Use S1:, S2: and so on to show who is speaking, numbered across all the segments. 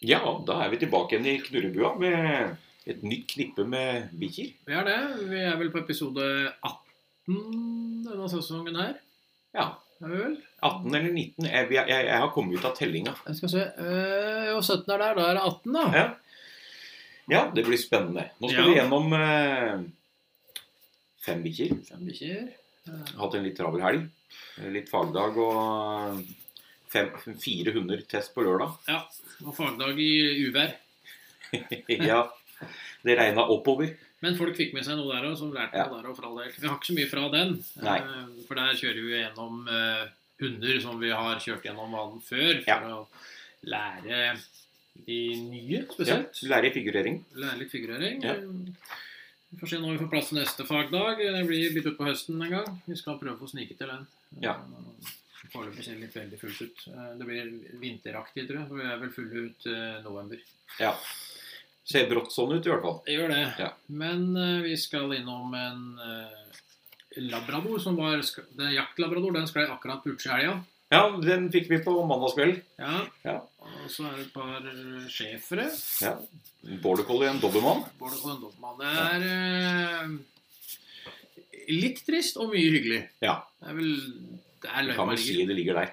S1: Ja, da er vi tilbake igjen i knurrebua med et nytt knippe med bikkjer.
S2: Vi er det. Vi er vel på episode 18 denne sesongen her.
S1: Ja.
S2: Er vi vel?
S1: 18 eller 19. Jeg, jeg, jeg jeg har kommet ut av tellinga.
S2: Jeg skal se. Eh, jo, 17 er der. Da er det 18, da.
S1: Ja. ja, det blir spennende. Nå skal
S2: Ja.
S1: vi gjennom eh, fem bikkjer.
S2: Fem bikkjer.
S1: Hatt en litt travel helg. Litt fagdag og fem, fire hunder test på lørdag.
S2: Ja. Og fagdag i uvær.
S1: ja, det regna oppover.
S2: Men folk fikk med seg noe der òg, som lærte
S1: Ja.
S2: noe der òg, for all del. Vi har ikke så mye fra den.
S1: Nei.
S2: eh, For der kjører vi gjennom eh, hunder som vi har kjørt gjennom vann før, for å lære de nye
S1: Ja,
S2: spesielt.
S1: lærer i figurering.
S2: Lære litt figurering.
S1: Ja.
S2: Vi får se når vi får plass til neste fagdag. Det blir litt utpå høsten en gang. Vi skal prøve å få snike til den.
S1: Ja.
S2: Eh, Foreløpig ser det litt veldig fullt ut. Eh, Det blir vinteraktig, tror jeg. For vi er vel fulle ut eh, november.
S1: Ja. Ser brått sånn ut i hvert fall.
S2: Det gjør det.
S1: Ja.
S2: Men eh, vi skal innom en eh, labrador som var sk- Det er jaktlabrador. Den sklei akkurat på utsida i helga.
S1: Ja, den fikk vi på mandagskveld.
S2: Ja.
S1: Ja.
S2: Og så er det et par eh, schæfere.
S1: Ja. Border collie, en dobbeltmann.
S2: Bård og Dobbeltmann. Det er eh, litt trist og mye hyggelig.
S1: Ja.
S2: Det er vel der
S1: Vi kan
S2: løypa
S1: vel si
S2: ligger.
S1: det ligger der.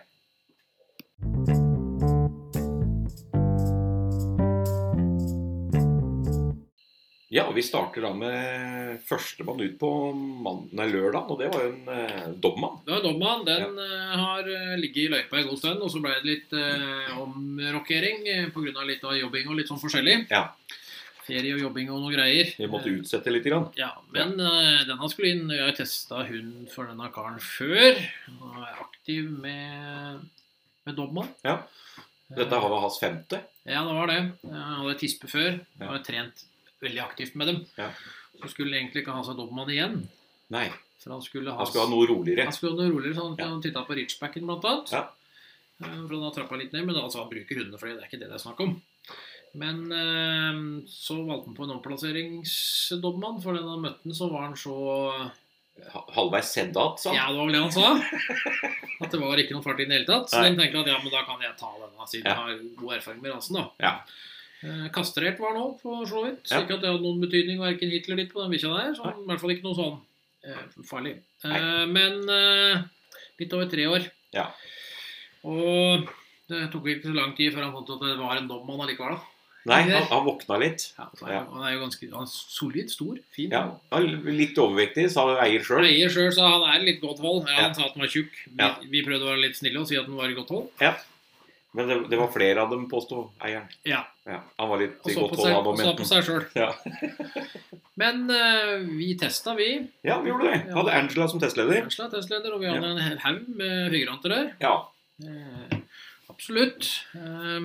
S1: Ja, vi starter da med førstemann ut på mann- nei, lørdag, og det var jo en eh, dobbeltmann.
S2: Det var Dobbeltmann. Den eh, har eh, ligget i løypa en god stund, og så ble det litt eh, omrokering eh, på grunn av litt av jobbing og litt sånn forskjellig.
S1: Ja.
S2: Ferie og jobbing og noe greier.
S1: Vi måtte utsette litt. Grann.
S2: Ja, men eh, denne skulle inn. Jeg har testa hund for denne karen før. Og er aktiv med, med Dobbeltmann.
S1: Ja. Dette var hans femte.
S2: Ja, det var det. Jeg hadde tispe før.
S1: Ja.
S2: Jeg har trent veldig aktivt med dem.
S1: Ja.
S2: Så skulle egentlig ikke ha seg dobbeltmann igjen.
S1: Nei,
S2: For han skulle ha,
S1: han skulle ha noe roligere.
S2: han skulle ha noe roligere, så han,
S1: Ja.
S2: han titta på Ridgebacken blant annet.
S1: Ja.
S2: Eh, For han har trappa litt ned. Men altså, han bruker hundene for det. Det er ikke det det er snakk om. Men eh, så valgte han på en omplasseringsdobbeltmann, for den han møtte, så var han så
S1: Ha- Halvveis seddat, sa
S2: Ja,
S1: han.
S2: det var vel det han sa. At det var ikke noen fart i det hele tatt. Så
S1: Nei.
S2: den tenkte at ja, men da kan jeg ta denne, siden
S1: Ja.
S2: jeg har god erfaring med rasen, da.
S1: Ja.
S2: Eh, Kastrert var han òg, for så vidt. Så
S1: Ja.
S2: ikke at det hadde noen betydning verken hit eller dit på den bikkja der. Så i hvert fall ikke noe sånn eh, farlig. Eh, men eh, litt over tre år.
S1: Ja.
S2: Og det tok ikke så lang tid før han fant ut at det var en dommann allikevel, da.
S1: Nei, han, han våkna litt.
S2: Ja, så
S1: Ja.
S2: er, han er jo ganske han er solid, stor, fin.
S1: Ja, han er Litt overvektig, sa eier sjøl.
S2: Eier sjøl sa han er i litt godt hold. Ja,
S1: Ja.
S2: han sa at han var tjukk. Vi,
S1: Ja.
S2: vi prøvde å være litt snille og si at han var i godt hold.
S1: Men det, det var flere av dem, påsto eieren.
S2: Ja,
S1: Ja, han var litt
S2: Og
S1: i
S2: så
S1: godt
S2: på
S1: hold,
S2: seg,
S1: han
S2: og
S1: òg,
S2: så på
S1: men
S2: seg sjøl.
S1: Ja.
S2: Men eh, vi testa, vi.
S1: Ja, vi gjorde det. Vi hadde Angela som testleder.
S2: Angela, testleder, og vi hadde en hel haug med figuranter der.
S1: Ja.
S2: Eh, absolutt. Eh,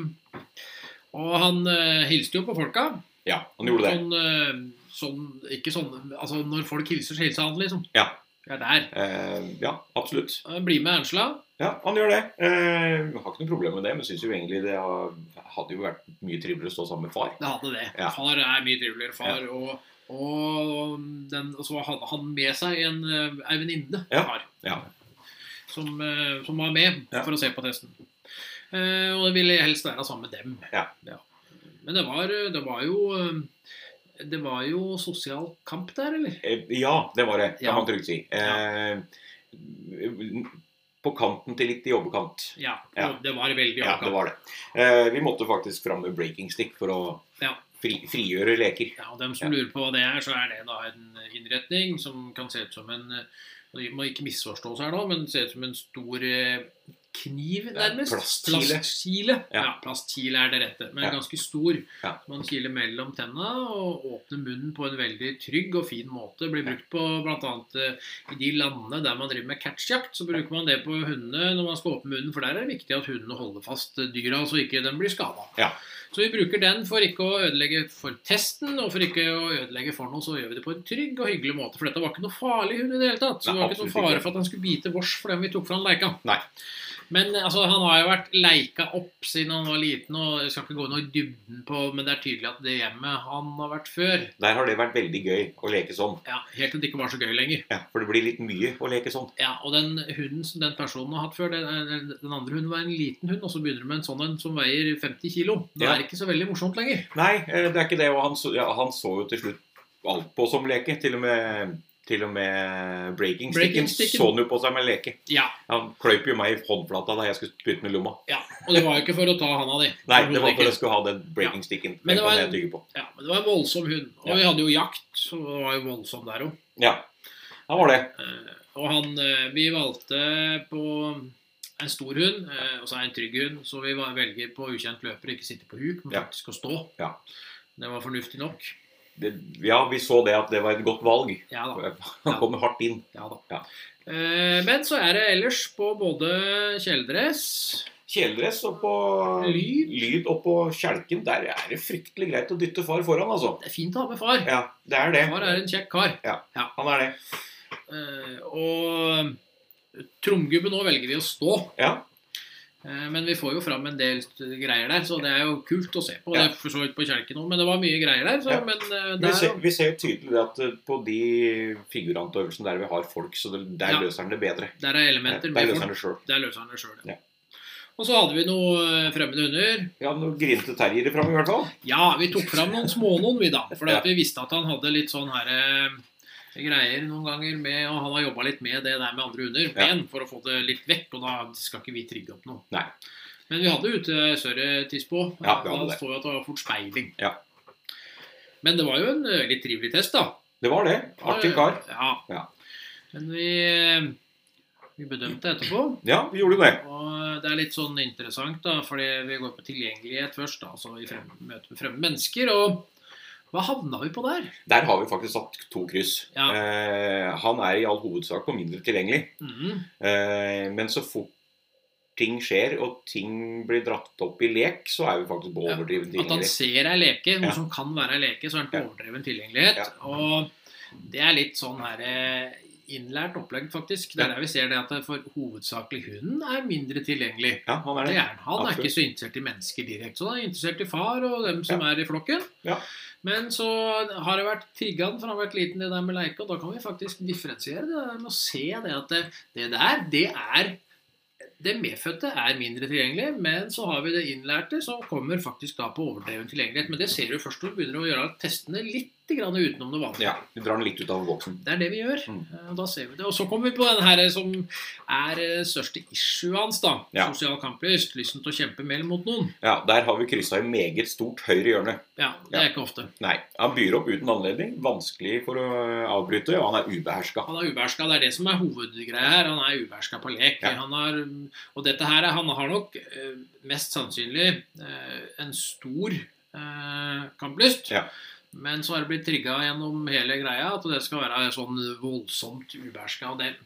S2: og han eh, hilste jo på folka.
S1: ja, han gjorde det.
S2: Sånn, eh, sånn, ikke sånn Altså, når folk hilser, så hilser han, liksom.
S1: Ja.
S2: Jeg er der.
S1: Eh, ja, absolutt.
S2: Eh, Bli med Angela.
S1: Ja, han gjør det. Eh, jeg har ikke noe problem med det, men syns jo egentlig det har, hadde jo vært mye triveligere å stå sammen med far.
S2: Det hadde det.
S1: Ja.
S2: Far er mye triveligere far. Og, og den, og så hadde han med seg en, eh, ei venninne.
S1: Ja.
S2: Far.
S1: Ja.
S2: som, eh, som var med
S1: Ja.
S2: for å se på testen. Eh, og det ville jeg helst være sammen med dem.
S1: Ja.
S2: Men det var, det var jo eh, Det var jo sosial kamp der, eller?
S1: Eh, ja, det var det, kan
S2: Ja.
S1: man trygt si. Eh, på kanten til litt i overkant.
S2: Ja.
S1: Ja.
S2: og Det var veldig
S1: Ja,
S2: hard
S1: det
S2: kamp.
S1: var det. Eh, vi måtte faktisk fram med breaking stick for å
S2: Ja.
S1: fri, frigjøre leker.
S2: Ja, og dem som lurer på hva det er, så er det da en innretning som kan se ut som en eh, og Vi må ikke misforstå oss her nå, men ser ut som en stor eh, kniv,
S1: Ja,
S2: nærmest.
S1: plastkile.
S2: Plastkile.
S1: Ja.
S2: Ja, plastkile er det rette, men
S1: Ja.
S2: ganske stor.
S1: Ja.
S2: Man kiler mellom tenna og åpner munnen på en veldig trygg og fin måte. Blir brukt på eh, bl.a. i de landene der man driver med catchjakt, så bruker man det på hundene når man skal åpne munnen, for der er det viktig at hundene holder fast dyra så ikke de blir skada. Så vi bruker den for ikke å ødelegge for testen, og for ikke å ødelegge for noe, så gjør vi det på en trygg og hyggelig måte. For dette var ikke noe farlig hund i det hele tatt. Så det
S1: Nei,
S2: var ikke noe
S1: absolutt
S2: fare
S1: ikke.
S2: for at han skulle bite vårs for den vi tok fra han leika.
S1: Nei.
S2: Men altså, han har jo vært leika opp siden han var liten, og jeg skal ikke gå noe i dybden på Men det er tydelig at det hjemmet han har vært før
S1: Der har det vært veldig gøy å leke sånn.
S2: ja, Helt til det ikke var så gøy lenger.
S1: Ja, For det blir litt mye å leke sånn.
S2: Ja, Og den hunden som den personen har hatt før, den, den den andre hunden var en liten hund, og så begynner du med en sånn en som veier 50 kilo. Det
S1: Ja.
S2: er ikke så veldig morsomt lenger.
S1: Nei, eh, det er ikke det. Og han så, ja, han så jo til slutt alt på som leke. Til og med, til og med breaking sticken
S2: Breaking sticken.
S1: så han jo på seg med leke.
S2: Ja,
S1: Han kløyp jo meg i håndflata da jeg skulle spytte den i lomma.
S2: ja. Og det var jo ikke for å ta handa di.
S1: Nei, det var
S2: Overhodet
S1: for
S2: ikke.
S1: jeg skulle ha den breaking sticken. Den
S2: Men det var
S1: kan jeg
S2: en-
S1: tygge på.
S2: Ja, men det var en voldsom hund. Og
S1: Ja.
S2: vi hadde jo jakt, så det var jo voldsom der òg.
S1: Ja, han var det.
S2: Og han eh, Vi valgte på en stor hund, eh, og så en trygg hund, så vi var- velger på ukjent løper, ikke sitte på huk, men
S1: Ja.
S2: faktisk å stå.
S1: Ja.
S2: Det var fornuftig nok.
S1: det. Ja, vi så det at det var et godt valg.
S2: Ja da.
S1: Han kom hardt inn.
S2: Ja da.
S1: Ja.
S2: Eh, Men så er det ellers på både kjeledress
S1: Kjeledress og på
S2: Lyd.
S1: lyd og på kjelken. Der er det fryktelig greit å dytte far foran, altså.
S2: Det er fint å ha med far.
S1: Ja, det er det.
S2: Far er en kjekk kar.
S1: Han er det.
S2: Eh, Og tromgubben nå velger vi å stå.
S1: Ja.
S2: Eh, Men vi får jo fram en del greier der, så det er jo kult å se på.
S1: Ja.
S2: Det er for så vidt på kjelken nå, men det var mye greier der. Så,
S1: Ja.
S2: men eh,
S1: Vi
S2: der,
S1: ser, vi ser jo tydelig det at eh, på de figurantøvelsene der vi har folk, så det, der
S2: Ja.
S1: løser han det bedre.
S2: der er
S1: Ja,
S2: elementer
S1: Der
S2: med
S1: løser
S2: folk.
S1: han det sjøl.
S2: Der løser han det sjøl.
S1: Ja.
S2: Og så hadde vi noen eh, fremmede hunder.
S1: Ja, noen grinete terriere fram i hvert fall.
S2: Ja, vi tok fram noen smånoen, vi da. For
S1: Ja.
S2: vi visste at han hadde litt sånn her eh, greier noen ganger med Og han har jobba litt med det der med andre hunder.
S1: Ja.
S2: Men for å få det litt vekk, og da skal ikke vi trigge opp noe.
S1: Nei.
S2: Men vi hadde ute eh, Sørre tiss på.
S1: Ja, vi
S2: da
S1: hadde det.
S2: så vi at det var fort speiling.
S1: Ja.
S2: Men det var jo en eh, litt trivelig test, da.
S1: Det var det. Artig kar.
S2: Ja.
S1: Ja.
S2: Men vi, eh, vi bedømte etterpå.
S1: Ja, vi gjorde det.
S2: Og det er litt sånn interessant, da, fordi vi går på tilgjengelighet først, da, altså i frem, møte med fremmede mennesker. Og hva havna vi på der?
S1: Der har vi faktisk satt to kryss.
S2: Ja.
S1: Eh, han er i all hovedsak på mindre tilgjengelig.
S2: Mhm.
S1: Eh, men så fort ting skjer, og ting blir dratt opp i lek, så er vi faktisk på
S2: Ja,
S1: overdriven
S2: At han
S1: tilgjengelig.
S2: ser ei leke, noe
S1: Ja.
S2: som kan være ei leke, så er han på
S1: Ja.
S2: overdreven tilgjengelighet.
S1: Ja.
S2: Og det er litt sånn her eh, innlært opplegg, faktisk. Det
S1: Ja.
S2: er der vi ser det at det for hovedsakelig hunden er mindre tilgjengelig.
S1: Ja, han er
S2: Det
S1: det.
S2: er han. Han er
S1: Absolutt.
S2: ikke så interessert i mennesker direkte. så Han er interessert i far og dem som er i flokken.
S1: Ja.
S2: Men så har det vært trigga for han har vært liten, det der med leike. Og da kan vi faktisk differensiere det der med å se det at det, det der, det er Det medfødte er mindre tilgjengelig, men så har vi det innlærte som kommer faktisk da på overdreven tilgjengelighet. Men det ser du først når du begynner å gjøre testene litt grann utenom det vanlige.
S1: Ja, Vi drar den litt ut av boksen.
S2: Det er det vi gjør.
S1: Mm.
S2: Eh, og Da ser vi det. Og så kommer vi på den her eh, som er eh, største issue hans, da.
S1: Ja.
S2: Sosial kamplyst. Lysten til å kjempe mer mot noen.
S1: Ja, Der har vi kryssa i meget stort høyre hjørne.
S2: Ja, Det
S1: Ja.
S2: er ikke ofte.
S1: Nei, han byr opp uten anledning. Vanskelig for å eh, avbryte, og han er ubeherska.
S2: Han er ubeherska. Det er det som er hovedgreia her. Han er ubeherska på lek.
S1: Ja.
S2: Han har, og dette her er- Han har nok eh, mest sannsynlig eh, en stor eh, kamplyst.
S1: Ja.
S2: Men så har det blitt trigga gjennom hele greia at det skal være sånn voldsomt ubeherska. Og det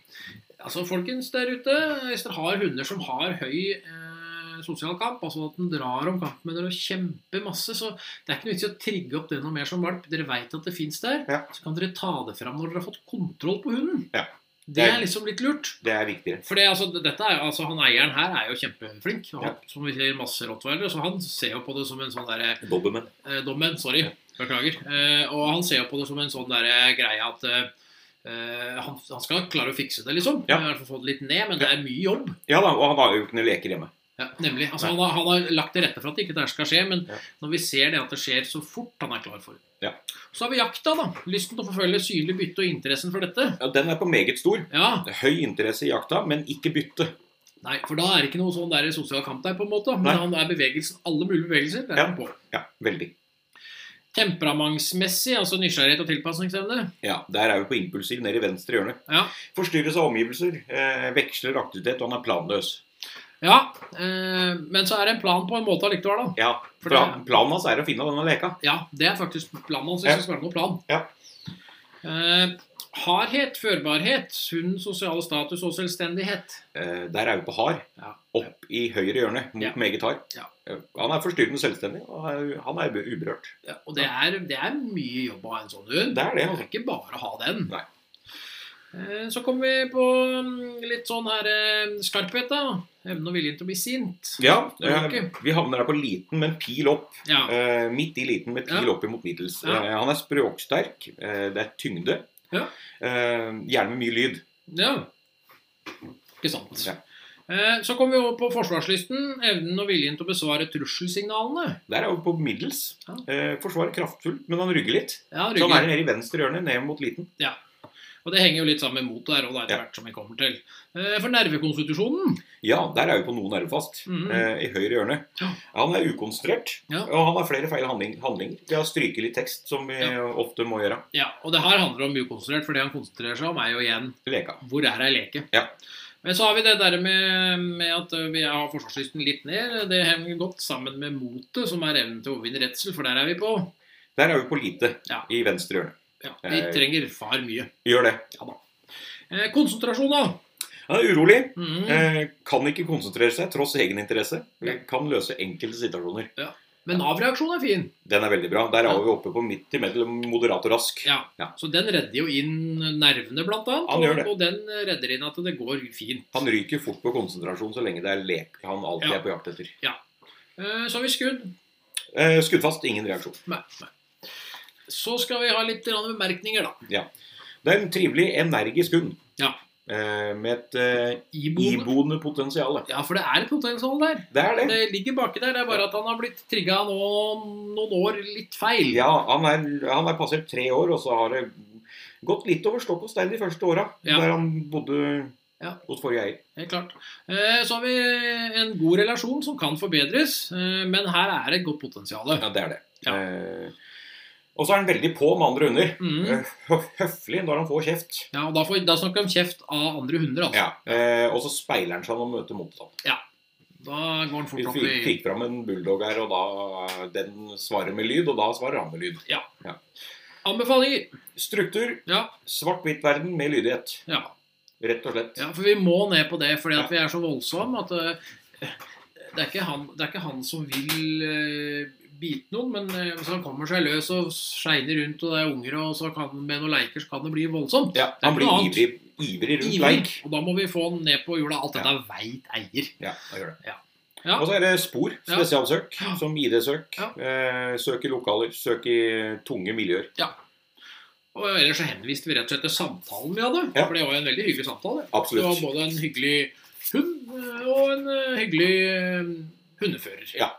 S2: Altså, folkens der ute, hvis dere har hunder som har høy eh, sosial kamp, altså at den drar om kamp med dere og kjemper masse, så det er ikke noe vits i å trigge opp det noe mer som valp. Dere veit at det fins der.
S1: Ja.
S2: Så kan dere ta det fram når dere har fått kontroll på hunden.
S1: Ja.
S2: Det er liksom litt lurt.
S1: Det er viktigere.
S2: For det, altså, dette er, jo- altså, han eieren her er jo kjempeflink. Han,
S1: Ja.
S2: Som vi sier, masse rottweilere. Så han ser jo på det som en sånn derre
S1: Doberman.
S2: Eh, dommen, sorry. Beklager. Eh, og han ser jo på det som en sånn der eh, greie at eh, eh, han, han skal klare å fikse det, liksom.
S1: Ja.
S2: I hvert fall få det litt ned, men det er mye jobb.
S1: Ja da, og han har jo ikke noen leker hjemme.
S2: Ja, nemlig. Altså,
S1: Nei.
S2: han, har, han har lagt til rette for at ikke dette skal skje, men
S1: Ja.
S2: når vi ser det at det skjer så fort han er klar for det.
S1: Ja.
S2: Så har vi jakta, da. Lysten til å forfølge synlig bytte og interessen for dette.
S1: Ja, Den er på meget stor.
S2: Ja,
S1: Høy interesse i jakta, men ikke bytte.
S2: nei, For da er det ikke noe sånn der sosial kamp der, på en måte. Men
S1: Nei.
S2: han er bevegelsen, alle mulige bevegelser. Det er
S1: Ja.
S2: han på.
S1: Ja, veldig.
S2: Temperamentsmessig, altså nysgjerrighet og tilpasningsevne.
S1: Ja, Der er vi på impulsiv nede i venstre hjørne.
S2: Ja.
S1: Forstyrres av omgivelser, eh, veksler aktivitet, og han er planløs.
S2: Ja, eh, men så er det en plan på en måte allikevel, da.
S1: Ja,
S2: For
S1: fra,
S2: det-
S1: Planen hans er å finne denne leka.
S2: Ja, det er faktisk planen hans.
S1: Ja.
S2: Jeg skal være noen plan.
S1: Ja.
S2: Eh, hardhet, førbarhet, sunn sosial status og selvstendighet.
S1: Eh, der er vi på hard.
S2: Ja.
S1: Opp i høyre hjørne, mot
S2: Ja.
S1: meget hard.
S2: Ja.
S1: Eh, Han er forstyrrende selvstendig, og er- han er uberørt.
S2: Ja, og det er, det er mye jobb å ha en sånn hund.
S1: Det er det, altså.
S2: ikke bare å ha den.
S1: Nei.
S2: Eh, Så kommer vi på mm, litt sånn her eh, skarphet, da. Evnen og viljen til å bli sint.
S1: Ja,
S2: Det var
S1: eh,
S2: ikke.
S1: vi havner der på liten, men pil opp.
S2: Ja.
S1: Eh, midt i liten med pil opp imot middels.
S2: Ja.
S1: Eh, han er språksterk. Eh, det er tyngde.
S2: Ja.
S1: Eh, gjerne med mye lyd.
S2: ja. Ikke sant.
S1: Ja.
S2: Eh, Så kommer vi over på forsvarslysten. Evnen og viljen til å besvare trusselsignalene.
S1: Der er jo på middels.
S2: Ja.
S1: Eh, forsvarer kraftfullt, men han rygger litt.
S2: Ja,
S1: Så han
S2: ryggen.
S1: Sånn er nede i venstre hjørne, ned mot liten.
S2: Og det henger jo litt sammen med motet her òg, etter
S1: Ja.
S2: hvert som vi kommer til. Eh, For nervekonstitusjonen
S1: Ja, der er vi på noe nervefast.
S2: Mhm.
S1: eh, I høyre hjørne.
S2: Ja.
S1: Han er ukonsentrert.
S2: Ja.
S1: Og han har flere feil handling, handlinger. Vi har stryket litt tekst, som vi
S2: Ja.
S1: ofte må gjøre.
S2: Ja, og det her handler om ukonsentrert, for det han konsentrerer seg om, er jo igjen
S1: Leka.
S2: hvor er ei leke?
S1: Ja.
S2: Men så har vi det der med, med at eh, vi har forsvarslysten litt ned. Det henger godt sammen med motet, som er evnen til å overvinne redsel, for der er vi på.
S1: Der er vi på lite.
S2: Ja.
S1: I venstre hjørne.
S2: Ja, Vi
S1: Eh.
S2: trenger far mye.
S1: Gjør det.
S2: Eh, konsentrasjon, da.
S1: Han er urolig.
S2: Mhm.
S1: Eh, kan ikke konsentrere seg tross egen interesse.
S2: Ja.
S1: Kan løse enkelte situasjoner.
S2: Men Nav-reaksjon er fin.
S1: Den er veldig bra. Der er
S2: Ja.
S1: vi oppe på midt i mellom moderat og rask.
S2: Ja.
S1: Ja.
S2: Så den redder jo inn nervene, blant annet.
S1: Han gjør det.
S2: Og, og den redder inn at det går fint.
S1: Han ryker fort på konsentrasjon så lenge det er lek han alltid
S2: Ja.
S1: er på jakt etter.
S2: Eh, så har vi skudd.
S1: Eh, skutt fast, ingen reaksjon.
S2: Nei, nei. Så skal vi ha litt grann bemerkninger, da.
S1: Det er en trivelig, energisk hund.
S2: Ja.
S1: Eh, med et eh,
S2: Iboende.
S1: iboende potensial.
S2: Ja, for det er et potensial der.
S1: Det er det.
S2: Det ligger baki der. Det er bare at han har blitt trigga nå, noen år litt feil.
S1: Ja, han er, han er passert tre år, og så har det gått litt over stokk og stein de første åra.
S2: Ja.
S1: Der han bodde
S2: Ja.
S1: hos forrige eier.
S2: Helt klart. Eh, Så har vi en god relasjon som kan forbedres, eh, men her er det et godt potensial.
S1: Ja, det er det.
S2: Ja.
S1: Eh, og så er han veldig på med andre hunder.
S2: Mm.
S1: Eh, høf- Høflig når han får kjeft.
S2: Ja, og da, får, da snakker vi om kjeft av andre hunder, altså.
S1: Ja. Eh, og så speiler han seg når han møter motstand.
S2: Da går han
S1: Vi
S2: fort opp
S1: fikk,
S2: i
S1: fikk fram en bulldog her, og da den svarer med lyd, og da svarer han med lyd.
S2: Anbefalinger.
S1: Struktur.
S2: Ja.
S1: Svart-hvitt-verden med lydighet.
S2: Ja.
S1: Rett og slett.
S2: ja, for vi må ned på det, fordi at vi er så voldsomme at eh, det er, ikke han, det er ikke han som vil eh, bite noen, men eh, hvis han kommer seg løs og skeiner rundt, og det er unger, og så kan, med noen leker, så kan det bli voldsomt.
S1: Ja,
S2: er
S1: han
S2: ikke
S1: blir
S2: noe annet.
S1: ivrig, ivrig rundt
S2: Ivrig.
S1: leik.
S2: Og da må vi få den ned på jorda. Alt dette veit eier.
S1: Ja, han gjør det.
S2: Ja. Ja.
S1: Og så er det spor.
S2: Ja.
S1: Spesialsøk.
S2: Ja.
S1: Som ID-søk.
S2: Ja.
S1: Eh, søk i lokaler. Søk i tunge miljøer.
S2: Og ellers så henviste vi rett og slett til samtalen vi hadde.
S1: Ja.
S2: For det var jo en veldig hyggelig samtale. Det var
S1: Absolutt.
S2: både en hyggelig hund eh, og en eh, hyggelig eh, hundefører.
S1: Ja.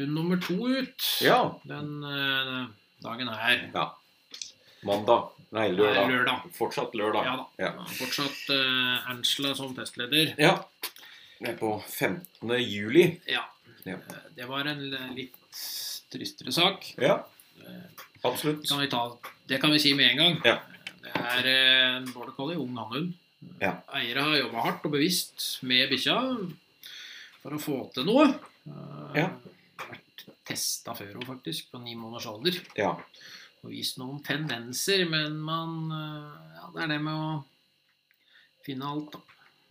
S2: Hund nummer to ut
S1: Ja.
S2: den eh, dagen her.
S1: Mandag. Nei,
S2: Det er
S1: lørdag.
S2: lørdag.
S1: Fortsatt lørdag.
S2: Ja da.
S1: Ja.
S2: Fortsatt eh, Angela som testleder.
S1: Ja. Det er på 15. juli.
S2: Ja.
S1: Ja.
S2: Eh, Det var en l- litt tristere sak.
S1: Ja,
S2: Eh,
S1: absolutt.
S2: Det kan vi, ta, det kan vi si med en gang.
S1: Ja.
S2: Det er eh, en border collie, ung hannhund.
S1: Ja.
S2: Eiere har jobba hardt og bevisst med bikkja for å få til noe. Eh,
S1: Ja.
S2: Vært testa før òg, faktisk, på ni måneders alder.
S1: Ja.
S2: Og vist noen tendenser, men man eh, Ja, det er det med å finne alt, da.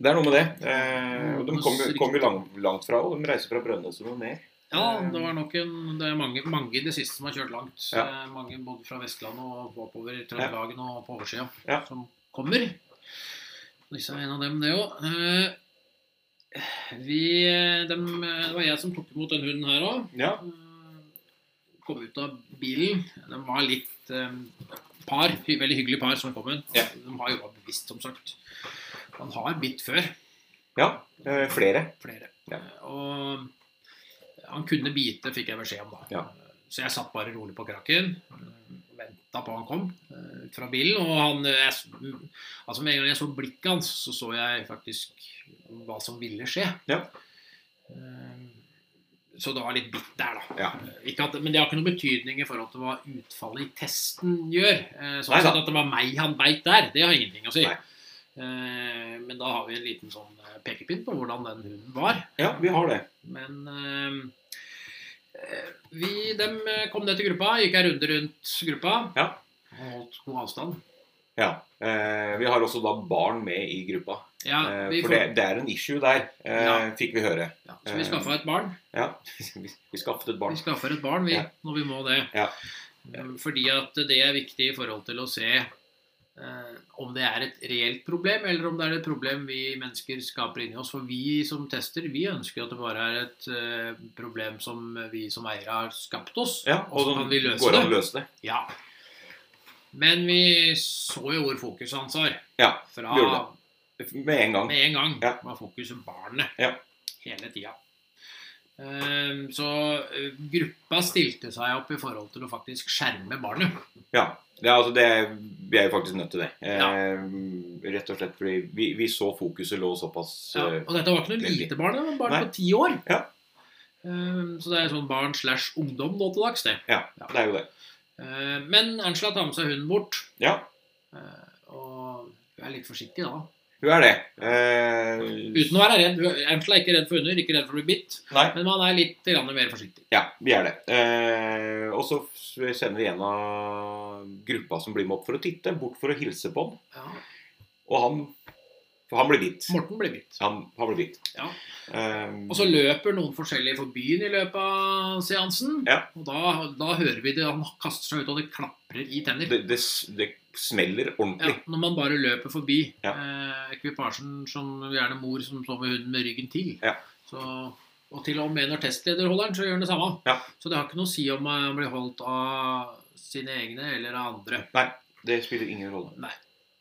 S1: Det er noe med det. Eh, og de kommer kom jo langt, langt fra, og de reiser fra Brønnøysund og ned.
S2: Ja, det var nok en Det er mange, mange i det siste som har kjørt langt.
S1: Eh, Ja.
S2: Eh, Mange både fra Vestlandet og oppover i Trøndelagen og på oversida
S1: Ja.
S2: som kommer. Disse er en av dem, det òg. Vi eh, dem, eh, Det var jeg som tok imot den hunden her òg.
S1: Ja.
S2: Kom ut av bilen. Den var litt eh, par. hy- Veldig hyggelig par som kom inn.
S1: Ja.
S2: De har jobba bevisst, som sagt. Han har bitt før
S1: ja. Eh, flere.
S2: flere.
S1: Ja.
S2: Og han kunne bite, fikk jeg beskjed om da.
S1: Ja.
S2: Så jeg satt bare rolig på krakken, venta på han kom eh, ut fra bilen. Og han eh, jeg, s- mm, Altså med en gang jeg så blikket hans, så så jeg faktisk hva som ville skje.
S1: Ja.
S2: Eh, Så det var litt bitt der, da.
S1: Ja.
S2: Eh, Ikke at, men det har ikke noen betydning i forhold til hva utfallet i testen gjør. Eh, Sånn
S1: Nei da.
S2: sett at det var meg han beit der, det har ingenting å si.
S1: Nei.
S2: Eh, Men da har vi en liten sånn eh, pekepinn på hvordan den hunden var.
S1: Ja, vi har det.
S2: Men ehm, eh, vi, dem eh, kom ned til gruppa, gikk en runde rundt gruppa.
S1: Ja.
S2: Og holdt god avstand.
S1: Ja. Eh, vi har også da barn med i gruppa.
S2: Ja,
S1: Eh,
S2: vi
S1: For
S2: får,
S1: det, det er en issue der, eh,
S2: Ja.
S1: fikk vi høre.
S2: ja, så vi skaffa et barn.
S1: Ja, Vi vi skaffet et barn.
S2: Vi skaffer et barn, vi,
S1: Ja.
S2: når vi må det. Eh,
S1: Ja.
S2: Fordi at det er viktig i forhold til å se eh, om det er et reelt problem, eller om det er et problem vi mennesker skaper inni oss. For vi som tester, vi ønsker at det bare er et eh, problem som vi som eiere har skapt oss.
S1: Ja,
S2: og så
S1: sånn
S2: kan vi løse
S1: går
S2: det.
S1: an å løse det.
S2: Ja. Men vi så jo hvor fokuset hans var.
S1: Ja,
S2: Fra
S1: gjorde det. Med en gang.
S2: med en gang
S1: Ja.
S2: var fokuset barnet
S1: Ja.
S2: hele tida. Ehm, Så eh, gruppa stilte seg opp i forhold til å faktisk skjerme barnet.
S1: Ja, ja altså det, vi er jo faktisk nødt til det. Eh,
S2: Ja.
S1: Rett og slett fordi vi, vi så fokuset lå såpass
S2: Ja,
S1: eh,
S2: og dette var ikke noe
S1: veldig.
S2: lite barn, det var barn
S1: Nei.
S2: på ti år.
S1: Ja.
S2: Ehm, Så det er sånn barn slash ungdom nå til dags, det.
S1: Ja,
S2: Ja.
S1: det er jo det.
S2: Ehm, Men Angela tar med seg hunden bort.
S1: Ja,
S2: eh, Og hun er litt forsiktig da.
S1: hun er det. Eh,
S2: Uten å være redd. Hun- Angela er ikke redd for hunder, ikke redd for å bli bitt.
S1: Nei,
S2: Men man er litt grann mer forsiktig.
S1: ja, vi er det. Eh, og så f- sender vi en av gruppa som blir med opp for å titte, bort for å hilse på han.
S2: Ja.
S1: Og han, for han blir bitt.
S2: Morten blir bitt.
S1: Han, han blir bitt.
S2: Ja.
S1: Eh,
S2: Og så løper noen forskjellige forbi i løpet av seansen.
S1: Ja.
S2: Og da, da hører vi det, han kaster seg ut, og det klaprer i tenner.
S1: det, det, s- det smeller
S2: Ja,
S1: ordentlig.
S2: når man bare løper forbi
S1: Ja.
S2: eh, ekvipasjen, som gjerne mor som står med hunden med ryggen til.
S1: Ja.
S2: Så, og til og med når testleder holder den, så gjør han det samme.
S1: Ja.
S2: Så det har ikke noe å si om han blir holdt av sine egne eller av andre.
S1: Det spiller ingen rolle.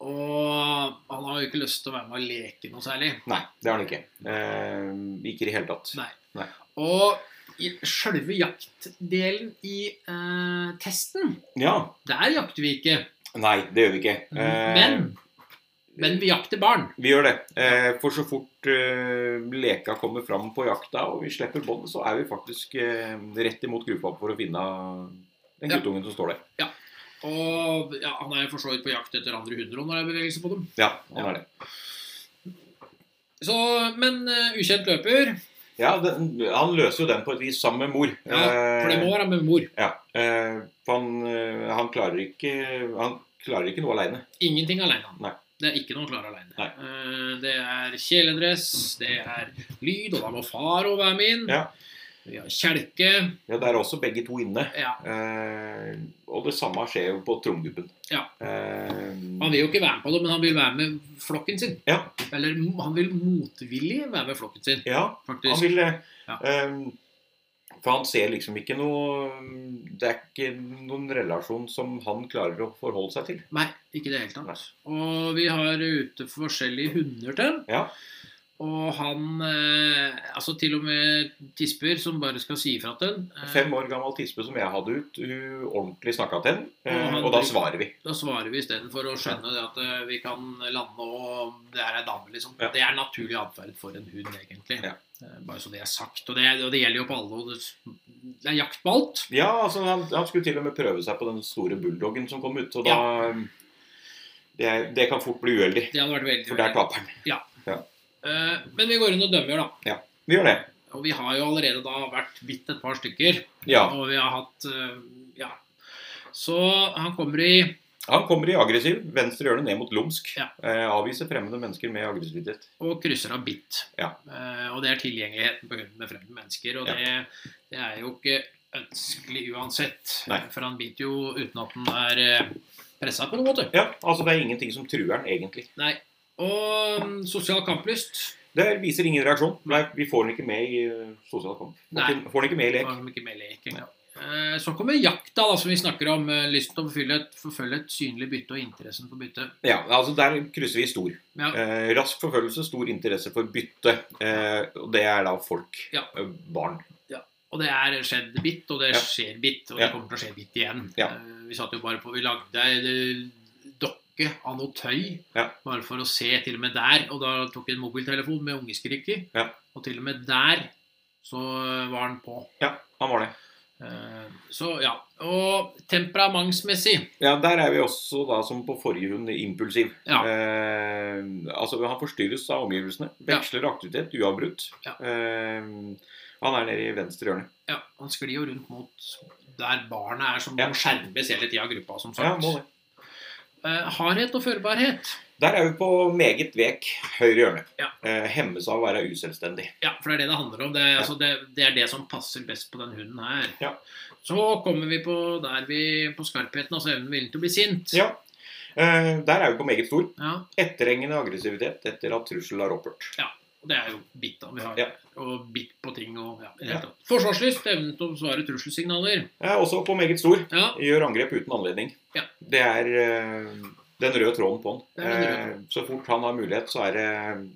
S2: Og han har jo ikke lyst til å være med og leke noe særlig.
S1: Nei, det har han ikke. Eh, ikke i det hele tatt.
S2: Nei.
S1: Nei.
S2: Og i sjølve jaktdelen i eh, testen
S1: Ja,
S2: Der jakter vi ikke,
S1: Nei, det gjør vi ikke. Eh,
S2: men, men vi jakter barn.
S1: Vi gjør det. Eh, for så fort eh, leka kommer fram på jakta, og vi slipper båndet, så er vi faktisk eh, rett imot gruppa for å finne den
S2: Ja.
S1: guttungen som står der.
S2: Og ja, han er jo for så vidt på jakt etter andre hunder og når det er bevegelse på dem.
S1: Ja, han
S2: Ja.
S1: er det.
S2: Så, men eh, ukjent løper,
S1: Ja, den, Han løser jo den på et vis sammen med mor.
S2: ja, for det må være med mor.
S1: ja, eh, for han, eh, han klarer ikke Han klarer ikke noe aleine.
S2: Ingenting alene.
S1: Nei.
S2: Det er ikke noe klar alene.
S1: Nei.
S2: Eh, Det er kjeledress, det er lyd, og da må far også være med inn.
S1: Ja.
S2: Vi har kjelke.
S1: Ja, der er også begge to inne.
S2: Ja.
S1: Eh, og det samme skjer jo på tromgubben.
S2: Ja.
S1: Eh,
S2: Han vil jo ikke være med på det, men han vil være med flokken sin.
S1: Ja.
S2: Eller han vil motvillig være med flokken sin,
S1: ja,
S2: faktisk.
S1: Han vil det.
S2: Ja.
S1: Ehm, for han ser liksom ikke noe Det er ikke noen relasjon som han klarer å forholde seg til.
S2: Nei, ikke i det hele tatt. Og vi har ute forskjellige hunder til.
S1: Ja.
S2: Og han eh, Altså til og med tisper som bare skal si ifra til den. Eh,
S1: Fem år gammel tispe som jeg hadde ut, hun ordentlig snakka til den, eh,
S2: Og han-
S1: og da svarer vi.
S2: Da svarer vi istedenfor å skjønne det at eh, vi kan lande og det er ei dame, liksom.
S1: Ja.
S2: Det er naturlig atferd for en hund, egentlig.
S1: Ja.
S2: Eh, Bare så det er sagt. Og det, og det gjelder jo på alle. Og det, det er jakt på alt.
S1: Ja, altså han, han skulle til og med prøve seg på den store bulldoggen som kom ut, og da ehm, det, det kan fort bli uheldig,
S2: Det hadde vært veldig
S1: for der taper han.
S2: Eh, Men vi går inn og dømmer, da.
S1: Vi gjør det.
S2: Og vi har jo allerede da vært bitt et par stykker.
S1: Ja.
S2: Og vi har hatt eh, Ja. Så han kommer i
S1: Han kommer i aggressiv, venstre hjørne ned mot lumsk.
S2: Ja.
S1: Eh, avviser fremmede mennesker med aggressivitet.
S2: og krysser av bitt.
S1: Ja.
S2: Eh, og det er tilgjengeligheten på hunden med fremmede mennesker. Og
S1: Ja.
S2: det, det er jo ikke ønskelig uansett.
S1: Nei.
S2: For han biter jo uten at han er eh, pressa på noen måte.
S1: Ja, altså det er ingenting som truer han, egentlig.
S2: Nei. Og mm, sosial kamplyst
S1: Det viser ingen reaksjon. Nei, vi får den ikke med i eh, sosial kamp. Får
S2: Nei.
S1: ikke- Får den ikke med i lek.
S2: var de ikke med i leken. Eh, Så kommer jakta, da, som vi snakker om. eh, Lysten til å forfølge et, forfølge et synlig bytte og interessen for bytte.
S1: Ja, altså Der krysser vi stor.
S2: Ja.
S1: Eh, rask forfølgelse, stor interesse for bytte. Eh, og det er da folk.
S2: Ja.
S1: Eh, barn.
S2: Og det er skjedd bitt, og det
S1: Ja.
S2: skjer bitt, og
S1: Ja.
S2: det kommer til å skje bitt igjen.
S1: Ja.
S2: Eh, Vi satt jo bare på Vi lagde ei eh, dokke av noe tøy
S1: Ja.
S2: bare for å se, til og med der. Og da tok jeg en mobiltelefon med ungeskrik i,
S1: Ja.
S2: og til og med der så var han på.
S1: Ja, han var det.
S2: Eh, Så ja. Og temperamentsmessig
S1: Ja, Der er vi også da som på forrige hund impulsiv.
S2: Ja.
S1: Eh, altså Han forstyrres av omgivelsene. Veksler aktivitet uavbrutt.
S2: Ja.
S1: Eh, han er nede i venstre hjørne.
S2: ja, Han sklir jo rundt mot der barna er, som
S1: Ja.
S2: må skjermes hele tida av gruppa, som
S1: Ja,
S2: sagt.
S1: må det.
S2: Eh, hardhet og førbarhet.
S1: Der er vi på meget vek høyre hjørne.
S2: Ja.
S1: Eh, hemmes av å være uselvstendig.
S2: Ja, for det er det det handler om. Det, er- altså, det, det er det som passer best på den hunden her.
S1: Ja.
S2: Så kommer vi på der vi på skarpheten, altså evnen viljen til å bli sint.
S1: Ja. Eh, der er vi på meget stor.
S2: Ja,
S1: Etterhengende aggressivitet etter at trussel har opphørt.
S2: og det er jo bitt da vi har.
S1: Ja.
S2: Og bitt på ting og ja, i det
S1: Ja.
S2: hele tatt. Forsvarslyst, evnen til å besvare trusselsignaler.
S1: Eh, også på meget stor.
S2: Ja,
S1: Gjør angrep uten anledning.
S2: Ja.
S1: Det er eh, den røde tråden på han.
S2: Det er den røde
S1: Eh, så fort han har mulighet, så er det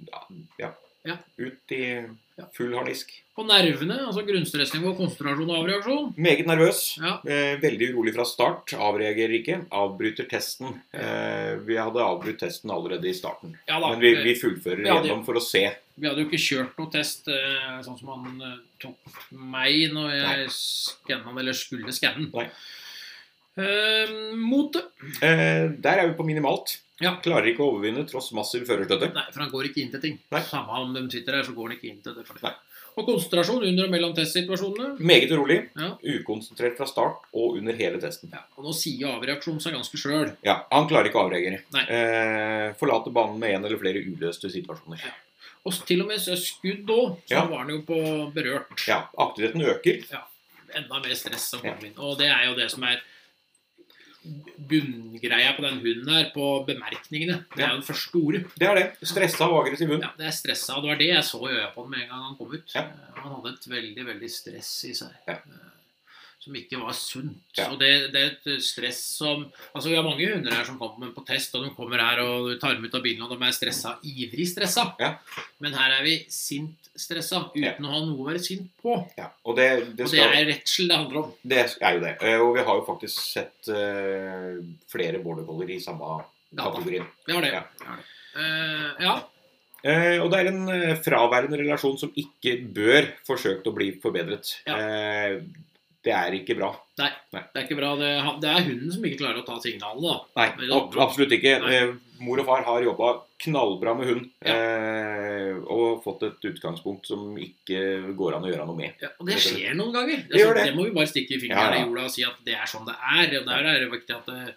S1: ja,
S2: Ja.
S1: ut i
S2: Ja.
S1: full harnisk.
S2: På nervene, altså grunnstressnivå, konsentrasjon og avreaksjon.
S1: Meget nervøs.
S2: Ja.
S1: Eh, veldig urolig fra start. Avreagerer ikke. Avbryter testen. Eh, vi hadde avbrutt testen allerede i starten.
S2: Ja da.
S1: Men vi, vi fullfører
S2: Ja, det-
S1: gjennom for å se.
S2: Vi hadde jo ikke kjørt noe test eh, sånn som han eh, tok meg når jeg skanna den, eller skulle skanne
S1: Nei.
S2: den. Eh, Motet.
S1: Eh, der er vi på minimalt.
S2: Ja.
S1: Klarer ikke å overvinne tross massiv førerstøtte.
S2: Nei, for han går ikke inn til ting.
S1: Nei.
S2: Samme om de sitter her, så går han ikke inn til det. For det.
S1: Nei.
S2: Og konsentrasjon under og mellom testsituasjonene.
S1: Meget urolig.
S2: Ja.
S1: Ukonsentrert fra start og under hele testen.
S2: Ja, og nå sier avreaksjonen seg ganske sjøl.
S1: Ja, Han klarer ikke å avreagere.
S2: Nei.
S1: Eh, forlater banen med én eller flere uløste situasjoner.
S2: Og til og med så skudd òg, så
S1: Ja.
S2: var han jo på berørt.
S1: Ja, Aktiviteten øker.
S2: Enda mer stress som kom inn. Og det er jo det som er bunngreia på den hunden her, på bemerkningene. Det
S1: Ja.
S2: er jo den første ordet.
S1: Det er det. Stressa og aggressiv hund.
S2: Ja, det er stressa. og Det var det jeg så i øya på den med en gang han kom ut.
S1: Ja.
S2: Eh, Han hadde et veldig, veldig stress i seg.
S1: Ja.
S2: eh, Som ikke var sunt.
S1: Ja.
S2: Og det, det er et stress som Altså, vi har mange hunder her som kommer på test, og de kommer her og du tar dem ut av bilen, og de er stressa. Ivrig stressa.
S1: Ja.
S2: Men her er vi sint stressa, uten
S1: Ja.
S2: å ha noe å være sint på.
S1: Ja, og det, det,
S2: Og det
S1: skal,
S2: er redsel det handler om.
S1: det er jo det. Eh, Og vi har jo faktisk sett eh, flere border collier i samme
S2: Gata.
S1: kategorien.
S2: Vi har det.
S1: Ja.
S2: Vi har det. Eh, ja.
S1: Eh, og det er en eh, fraværende relasjon som ikke bør forsøkt å bli forbedret.
S2: Ja.
S1: Eh, det er ikke bra.
S2: Det er ikke bra. Det, han- det er hunden som ikke klarer å ta signalene, da.
S1: Nei,
S2: Men det er
S1: ab
S2: bra.
S1: absolutt ikke.
S2: Nei.
S1: Eh, mor og far har jobba knallbra med hund.
S2: Ja.
S1: Eh, og fått et utgangspunkt som ikke går an å gjøre noe med.
S2: Ja, og det skjer noen
S1: Det
S2: ganger.
S1: gjør det.
S2: Altså, det må vi bare stikke
S1: Ja, ja.
S2: fingeren i jorda og si at det er sånn det er. Og der er det viktig at det,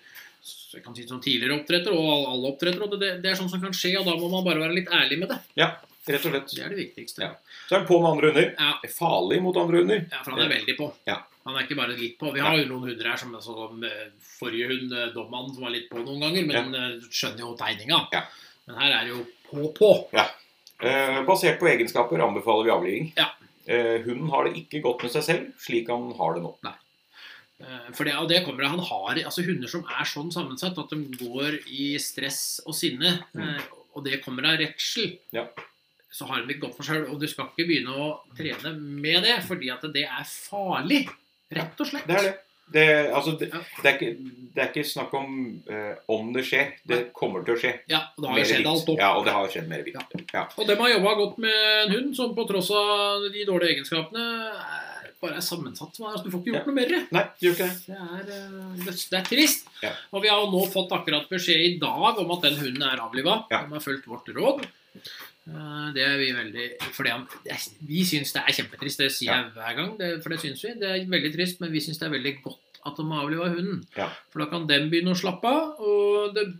S2: jeg kan si det som tidligere oppdretter og all- alle oppdrettere, og det, det er sånn som kan skje, og da må man bare være litt ærlig med det.
S1: Rett og slett.
S2: Det er det viktigste.
S1: Ja. Så er den på med andre hunder.
S2: Ja.
S1: Er Farlig mot andre hunder.
S2: Ja, for han er veldig på.
S1: Ja.
S2: Han er ikke bare litt på. Vi har jo noen hunder her som altså, som, eh, forrige hund, eh, dommannen, som var litt på noen ganger, men eh, skjønner jo tegninga.
S1: Ja.
S2: Men her er det jo på på.
S1: Eh, basert på egenskaper anbefaler vi avliving.
S2: Ja.
S1: Eh, hunden har det ikke godt med seg selv, slik han har det nå.
S2: Eh, For det, og det kommer av han har altså hunder som er sånn sammensatt at de går i stress og sinne,
S1: Mm.
S2: eh, og det kommer av redsel.
S1: Ja.
S2: Så har de det godt for seg selv, og du skal ikke begynne å trene med det, fordi at det er farlig. Rett og slett.
S1: Det er det. Det, altså, det,
S2: Ja.
S1: det, er, ikke, det er ikke snakk om eh, om det skjer. Det kommer til å skje.
S2: Ja, og det har jo
S1: Mer vilt.
S2: skjedd alt opp.
S1: Ja, og det har skjedd mer vilt.
S2: Og dem har jobba godt med en hund som på tross av de dårlige egenskapene er- bare er sammensatt. som er. Altså, du får ikke
S1: Ja.
S2: gjort noe mer.
S1: Nei, det gjør ikke det.
S2: Det er, eh, det, det er trist.
S1: Ja.
S2: Og vi har jo nå fått akkurat beskjed i dag om at den hunden er avliva.
S1: Ja.
S2: De har fulgt vårt råd. Eh, Det er vi veldig fordi han, det- Vi syns det er kjempetrist. Det sier
S1: Ja.
S2: jeg hver gang, det, for det syns vi. Det er veldig trist, men vi syns det er veldig godt at de har avliva hunden.
S1: Ja.
S2: For da kan dem begynne å slappe av, og det,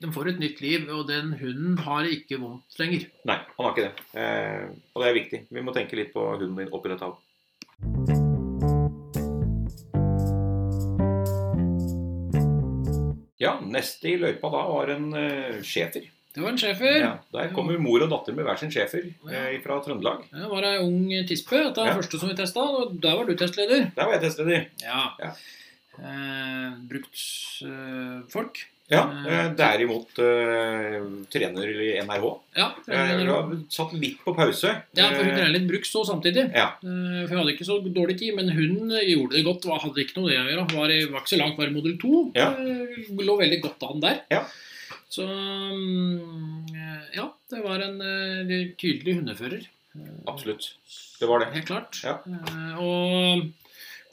S2: de får et nytt liv. Og den hunden har det ikke vondt lenger.
S1: Nei, han har ikke det. Eh, og det er viktig. Vi må tenke litt på hunden din oppi dette. også. Ja, neste i løypa da var en eh, schæfer.
S2: Det var en schæfer. Mm.
S1: Ja, der kommer mor og datter med hver sin schæfer eh, fra Trøndelag.
S2: Det var ei ung tispe. Dette er
S1: Ja.
S2: den første som vi testa, og der var du testleder.
S1: Der var jeg testleder.
S2: Ja.
S1: Ja.
S2: Eh, brukt eh, folk.
S1: Ja, eh, derimot eh, trener i NRH.
S2: Ja,
S1: Eh,
S2: trener,
S1: du har satt litt på pause.
S2: ja, for hun
S1: Eh,
S2: er litt brukt så samtidig.
S1: Ja.
S2: Eh, for hun hadde ikke så dårlig tid, men hun gjorde det godt. var- Hadde ikke noe det å gjøre. Var, i- var ikke så langt, var i modell 2.
S1: Ja.
S2: Eh, lå veldig godt an der.
S1: Ja.
S2: Så mm, eh, ja, det var en eh, tydelig hundefører.
S1: Eh, Absolutt. Det var det.
S2: Helt klart.
S1: Ja.
S2: Eh, og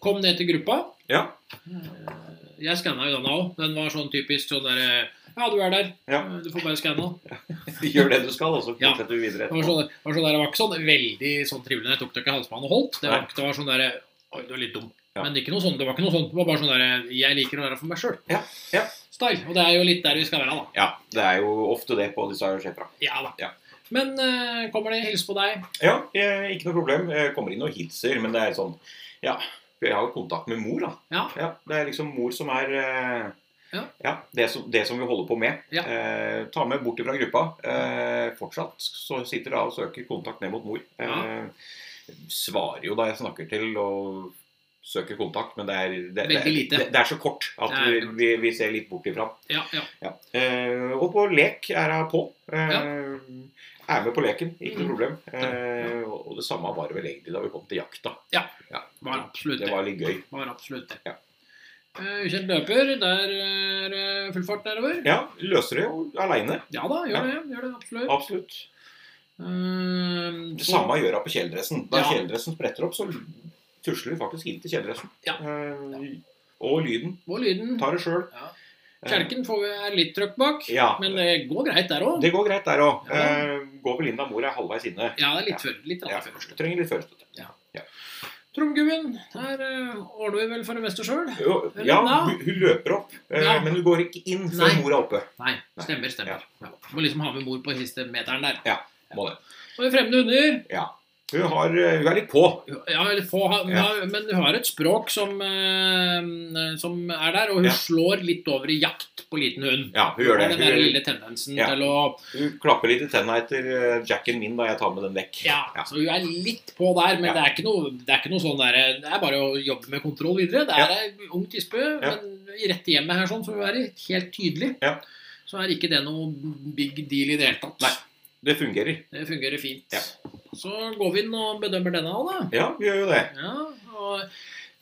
S2: kom ned til gruppa.
S1: Ja.
S2: Eh, Jeg skanna jo den òg. Den var sånn typisk sånn derre Ja, du er der.
S1: Ja.
S2: Eh, Du får bare skanna.
S1: Gjør det du skal, og så
S2: Ja.
S1: fortsetter vi videre.
S2: Det var,
S1: etterpå.
S2: sånn, det, var sånn der, det var ikke sånn veldig sånn trivelig når jeg tok det ikke halsbånd og holdt. Det var,
S1: Nei.
S2: ikke- det var sånn derre Oi, du er litt dum.
S1: Ja.
S2: Men det, er ikke noe sånn, det var ikke noe sånn. Det var bare sånn derre Jeg liker å være for meg sjøl.
S1: ja.
S2: style. Og det er jo litt der vi skal være, da.
S1: Ja, det er jo ofte det på disse schæfra.
S2: Ja da.
S1: Ja.
S2: Men eh, kommer det hilse på deg?
S1: Ja, eh, ikke noe problem. Jeg kommer inn og hilser, men det er sånn Ja, for jeg har jo kontakt med mor, da.
S2: Ja.
S1: det er liksom mor som er eh,
S2: Ja.
S1: det, som, det som vi holder på med.
S2: Ja.
S1: Eh, ta med bort ifra gruppa. Eh, fortsatt så sitter da og søker kontakt ned mot mor. Eh, Svarer jo da jeg snakker til og søker kontakt, men det er, det, det,
S2: Veldig lite.
S1: det, det er så kort at
S2: Det er
S1: vi,
S2: veldig kort.
S1: vi, vi ser litt bort ifra.
S2: Ja, ja.
S1: Ja. Eh, og på lek er hun på. Eh, Er med på leken, ikke noe
S2: Mm.
S1: problem. Eh, og og det samme var det vel egentlig da vi kom til jakta.
S2: Var absolutt
S1: Det
S2: det.
S1: var litt gøy.
S2: Var absolutt det.
S1: Ja.
S2: Eh, Ukjent løper, der eh, er det full fart nedover.
S1: Ja, løser det jo aleine.
S2: Ja da,
S1: Ja.
S2: gjør det. gjør det, Absolutt.
S1: Absolutt.
S2: Eh,
S1: Det
S2: så-
S1: samme gjør hun på kjeledressen. Da
S2: Ja.
S1: kjeledressen spretter opp, så tusler vi faktisk inn til kjeledressen.
S2: Ja.
S1: Eh, og lyden.
S2: Og lyden.
S1: Tar det sjøl.
S2: Ja. Kjelken får vi er litt trøkk bak,
S1: Ja.
S2: men det går greit der òg.
S1: Det går greit der òg.
S2: Ja.
S1: Eh, går vel inn da mor er halvveis inne.
S2: Ja, det er litt før. Litt
S1: Ja,
S2: rett før.
S1: trenger litt førerstøtte.
S2: Tromgummien, her eh, ordner vi vel for det meste sjøl.
S1: Jo,
S2: Eller
S1: Ja,
S2: da?
S1: hun hun løper opp, eh,
S2: Ja.
S1: men hun går ikke inn før
S2: Nei.
S1: mor er oppe.
S2: Nei, stemmer, stemmer. Ja. Må liksom ha med mor på siste meteren der.
S1: Må det.
S2: Og fremmede hunder
S1: Hun, har, eh, hun er litt på.
S2: Ja, eller få, ha,
S1: Ja.
S2: ha- Men hun har et språk som, eh, som er der, og hun
S1: Ja.
S2: slår litt over i jakt på liten hund.
S1: Ja, hun gjør det.
S2: Den der
S1: Hun,
S2: lille tendensen
S1: Ja.
S2: til å
S1: hun klapper litt i tenna etter eh, jacken min da jeg tar med den vekk.
S2: ja,
S1: Ja.
S2: så hun er litt på der,
S1: Ja.
S2: men det, er ikke noe, det er ikke noe sånn der Det er bare å jobbe med kontroll videre. Det
S1: Ja.
S2: er ei ung tispe,
S1: Ja.
S2: men i rette hjemmet her, sånn, så hun er helt tydelig,
S1: Ja.
S2: så er ikke det noe big deal i det hele tatt.
S1: Nei. Det fungerer.
S2: Det fungerer fint.
S1: Ja.
S2: Så går vi inn og bedømmer denne, da.
S1: Ja, vi gjør jo det.
S2: Ja, og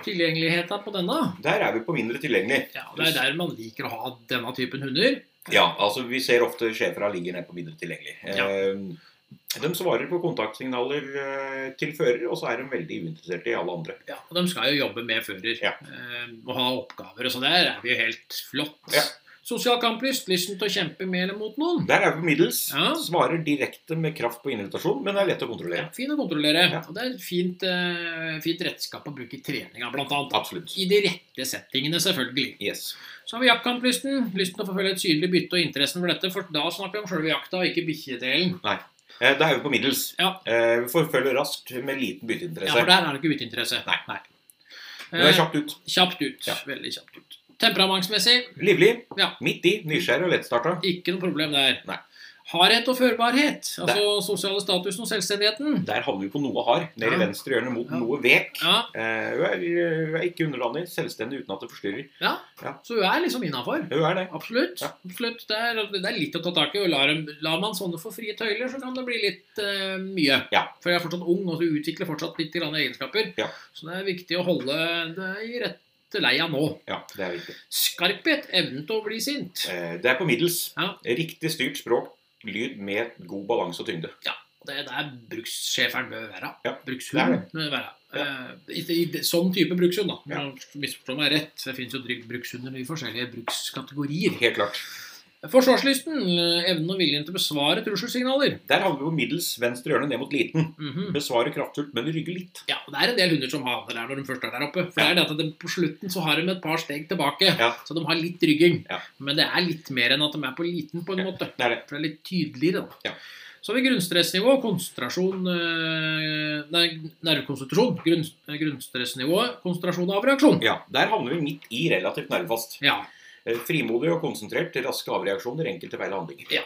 S2: tilgjengeligheten på denne.
S1: Der er vi på mindre tilgjengelig.
S2: Ja, Det er der man liker å ha denne typen hunder.
S1: Ja, altså vi ser ofte schæfera ligger ned på mindre tilgjengelig.
S2: Ja.
S1: Eh, de svarer på kontaktsignaler eh, til fører, og så er de veldig uinteresserte i alle andre.
S2: Ja, og De skal jo jobbe med fører
S1: Ja.
S2: eh, og ha oppgaver. og Så der er vi jo helt flott.
S1: Ja.
S2: Sosial kamplyst. Lysten til å kjempe med eller mot noen.
S1: Der er vi på middels.
S2: Ja.
S1: Svarer direkte med kraft på invitasjon, men er lett å kontrollere.
S2: Ja, fin å kontrollere.
S1: Ja.
S2: Og Det er et fint, eh, fint redskap å bruke i treninga, blant annet.
S1: Absolutt.
S2: I de rette settingene, selvfølgelig.
S1: Yes.
S2: Så har vi jaktkamplysten. Lysten til å forfølge et synlig bytte og interessen for dette. For da snakker vi om sjølve jakta, og ikke bikkjedelen.
S1: Eh, da er vi på middels.
S2: Ja.
S1: Eh, vi forfølger raskt med liten
S2: Ja, for
S1: bytteinteresse.
S2: der er det ikke uteinteresse.
S1: Nei. Hun
S2: Eh,
S1: er kjapt ut.
S2: Kjapt ut.
S1: Ja.
S2: Veldig kjapt ut. Temperamentsmessig,
S1: Livlig.
S2: Ja.
S1: Midt i. Nysgjerrig og lettstarta.
S2: ikke noe problem der.
S1: Nei.
S2: Hardhet og førbarhet, altså sosiale statusen og selvstendigheten.
S1: Der havner vi på noe hard. Nede
S2: Ja.
S1: i venstre hjørne mot
S2: Ja.
S1: noe vek.
S2: Ja,
S1: Eh, hun, er, hun er ikke underlandig, selvstendig uten at det forstyrrer.
S2: Så hun er liksom innafor.
S1: Hun er det.
S2: Absolutt.
S1: Ja.
S2: absolutt. Det, er, det er litt å ta tak i. og Lar, dem- lar man sånne få frie tøyler, så kan det bli litt eh, mye.
S1: Ja.
S2: For jeg er fortsatt ung, og så utvikler fortsatt litt grann egenskaper.
S1: Ja.
S2: Så det er viktig å holde det i rette leia nå.
S1: Ja, det er viktig.
S2: Skarphet. Evnen til å bli sint.
S1: Eh, det er på middels.
S2: Ja.
S1: Riktig styrt språk, lyd med god balanse og tyngde.
S2: Det er der brukssjeferen bør være.
S1: Ja,
S2: Brukshund
S1: det
S2: bør være. Eh, i, i, sånn type brukshund, da.
S1: Ja.
S2: Nå Misforstå meg rett, det fins jo dryg- brukshunder i forskjellige brukskategorier.
S1: Helt klart.
S2: Forsvarslysten. eh, Evnen og viljen til å besvare trusselsignaler.
S1: Der havner vi på middels venstre hjørne ned mot liten.
S2: Mhm.
S1: Besvarer kraftfullt, men rygger litt.
S2: Ja, og Det er en del hunder som havner der når de først er der oppe. For det er det at de, På slutten så har de et par steg tilbake,
S1: Ja.
S2: så de har litt rygging.
S1: Ja.
S2: Men det er litt mer enn at de er på liten, på
S1: Ja.
S2: en måte.
S1: Det er det.
S2: For det er litt tydeligere, da.
S1: Ja.
S2: Så har vi grunnstressnivå, konsentrasjon eh, Nei, nervekonsentrasjon. Grunn, eh, grunnstressnivå, konsentrasjon av reaksjon.
S1: Ja, Der havner vi midt i relativt nervefast.
S2: Ja.
S1: Eh, Frimodig og konsentrert til raske avreaksjoner, enkelte feil handlinger.
S2: Det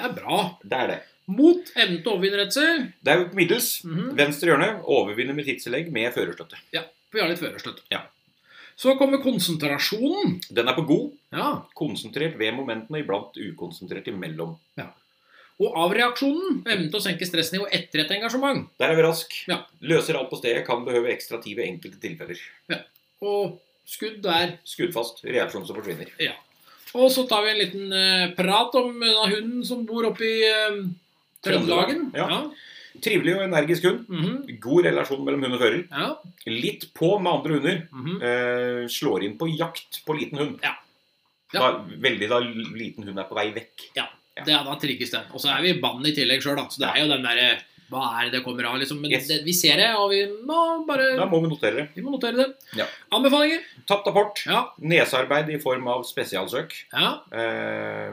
S2: er bra.
S1: Det er det.
S2: Mot evnen til å overvinne redsel.
S1: Det er jo på middels.
S2: Mhm.
S1: Venstre hjørne overvinner med tidstillegg med førerstøtte.
S2: Vi har litt førerstøtte.
S1: Ja.
S2: Så kommer konsentrasjonen.
S1: Den er på god.
S2: Ja.
S1: Konsentrert ved momentene, iblant ukonsentrert imellom.
S2: Og avreaksjonen. Evnen til å senke stressnivå etter et engasjement.
S1: Der er vi rask.
S2: Ja.
S1: Løser alt på stedet, kan behøve ekstra tid ved enkelte tilfeller.
S2: Og skudd der.
S1: Skuddfast, reaksjon som forsvinner.
S2: Og så tar vi en liten eh, prat om eh, hunden som bor oppe i eh, Trøndelagen.
S1: Trøndelag, ja. Trivelig og energisk hund.
S2: Mhm.
S1: God relasjon mellom hund og fører.
S2: ja.
S1: Litt på med andre hunder.
S2: mhm.
S1: Eh, slår inn på jakt på liten hund.
S2: Ja. Ja.
S1: Da, veldig da liten hund er på vei vekk.
S2: Det, da trigges den. Og så er vi i bann i tillegg sjøl, da. Så det er jo den derre hva er det det kommer av, liksom. Men
S1: Yes.
S2: det, vi ser det, og vi må
S1: Da
S2: bare
S1: må vi notere det.
S2: vi må notere det.
S1: Ja.
S2: Anbefalinger?
S1: Tapt apport.
S2: Ja.
S1: Nesearbeid i form av spesialsøk.
S2: ja.
S1: Eh,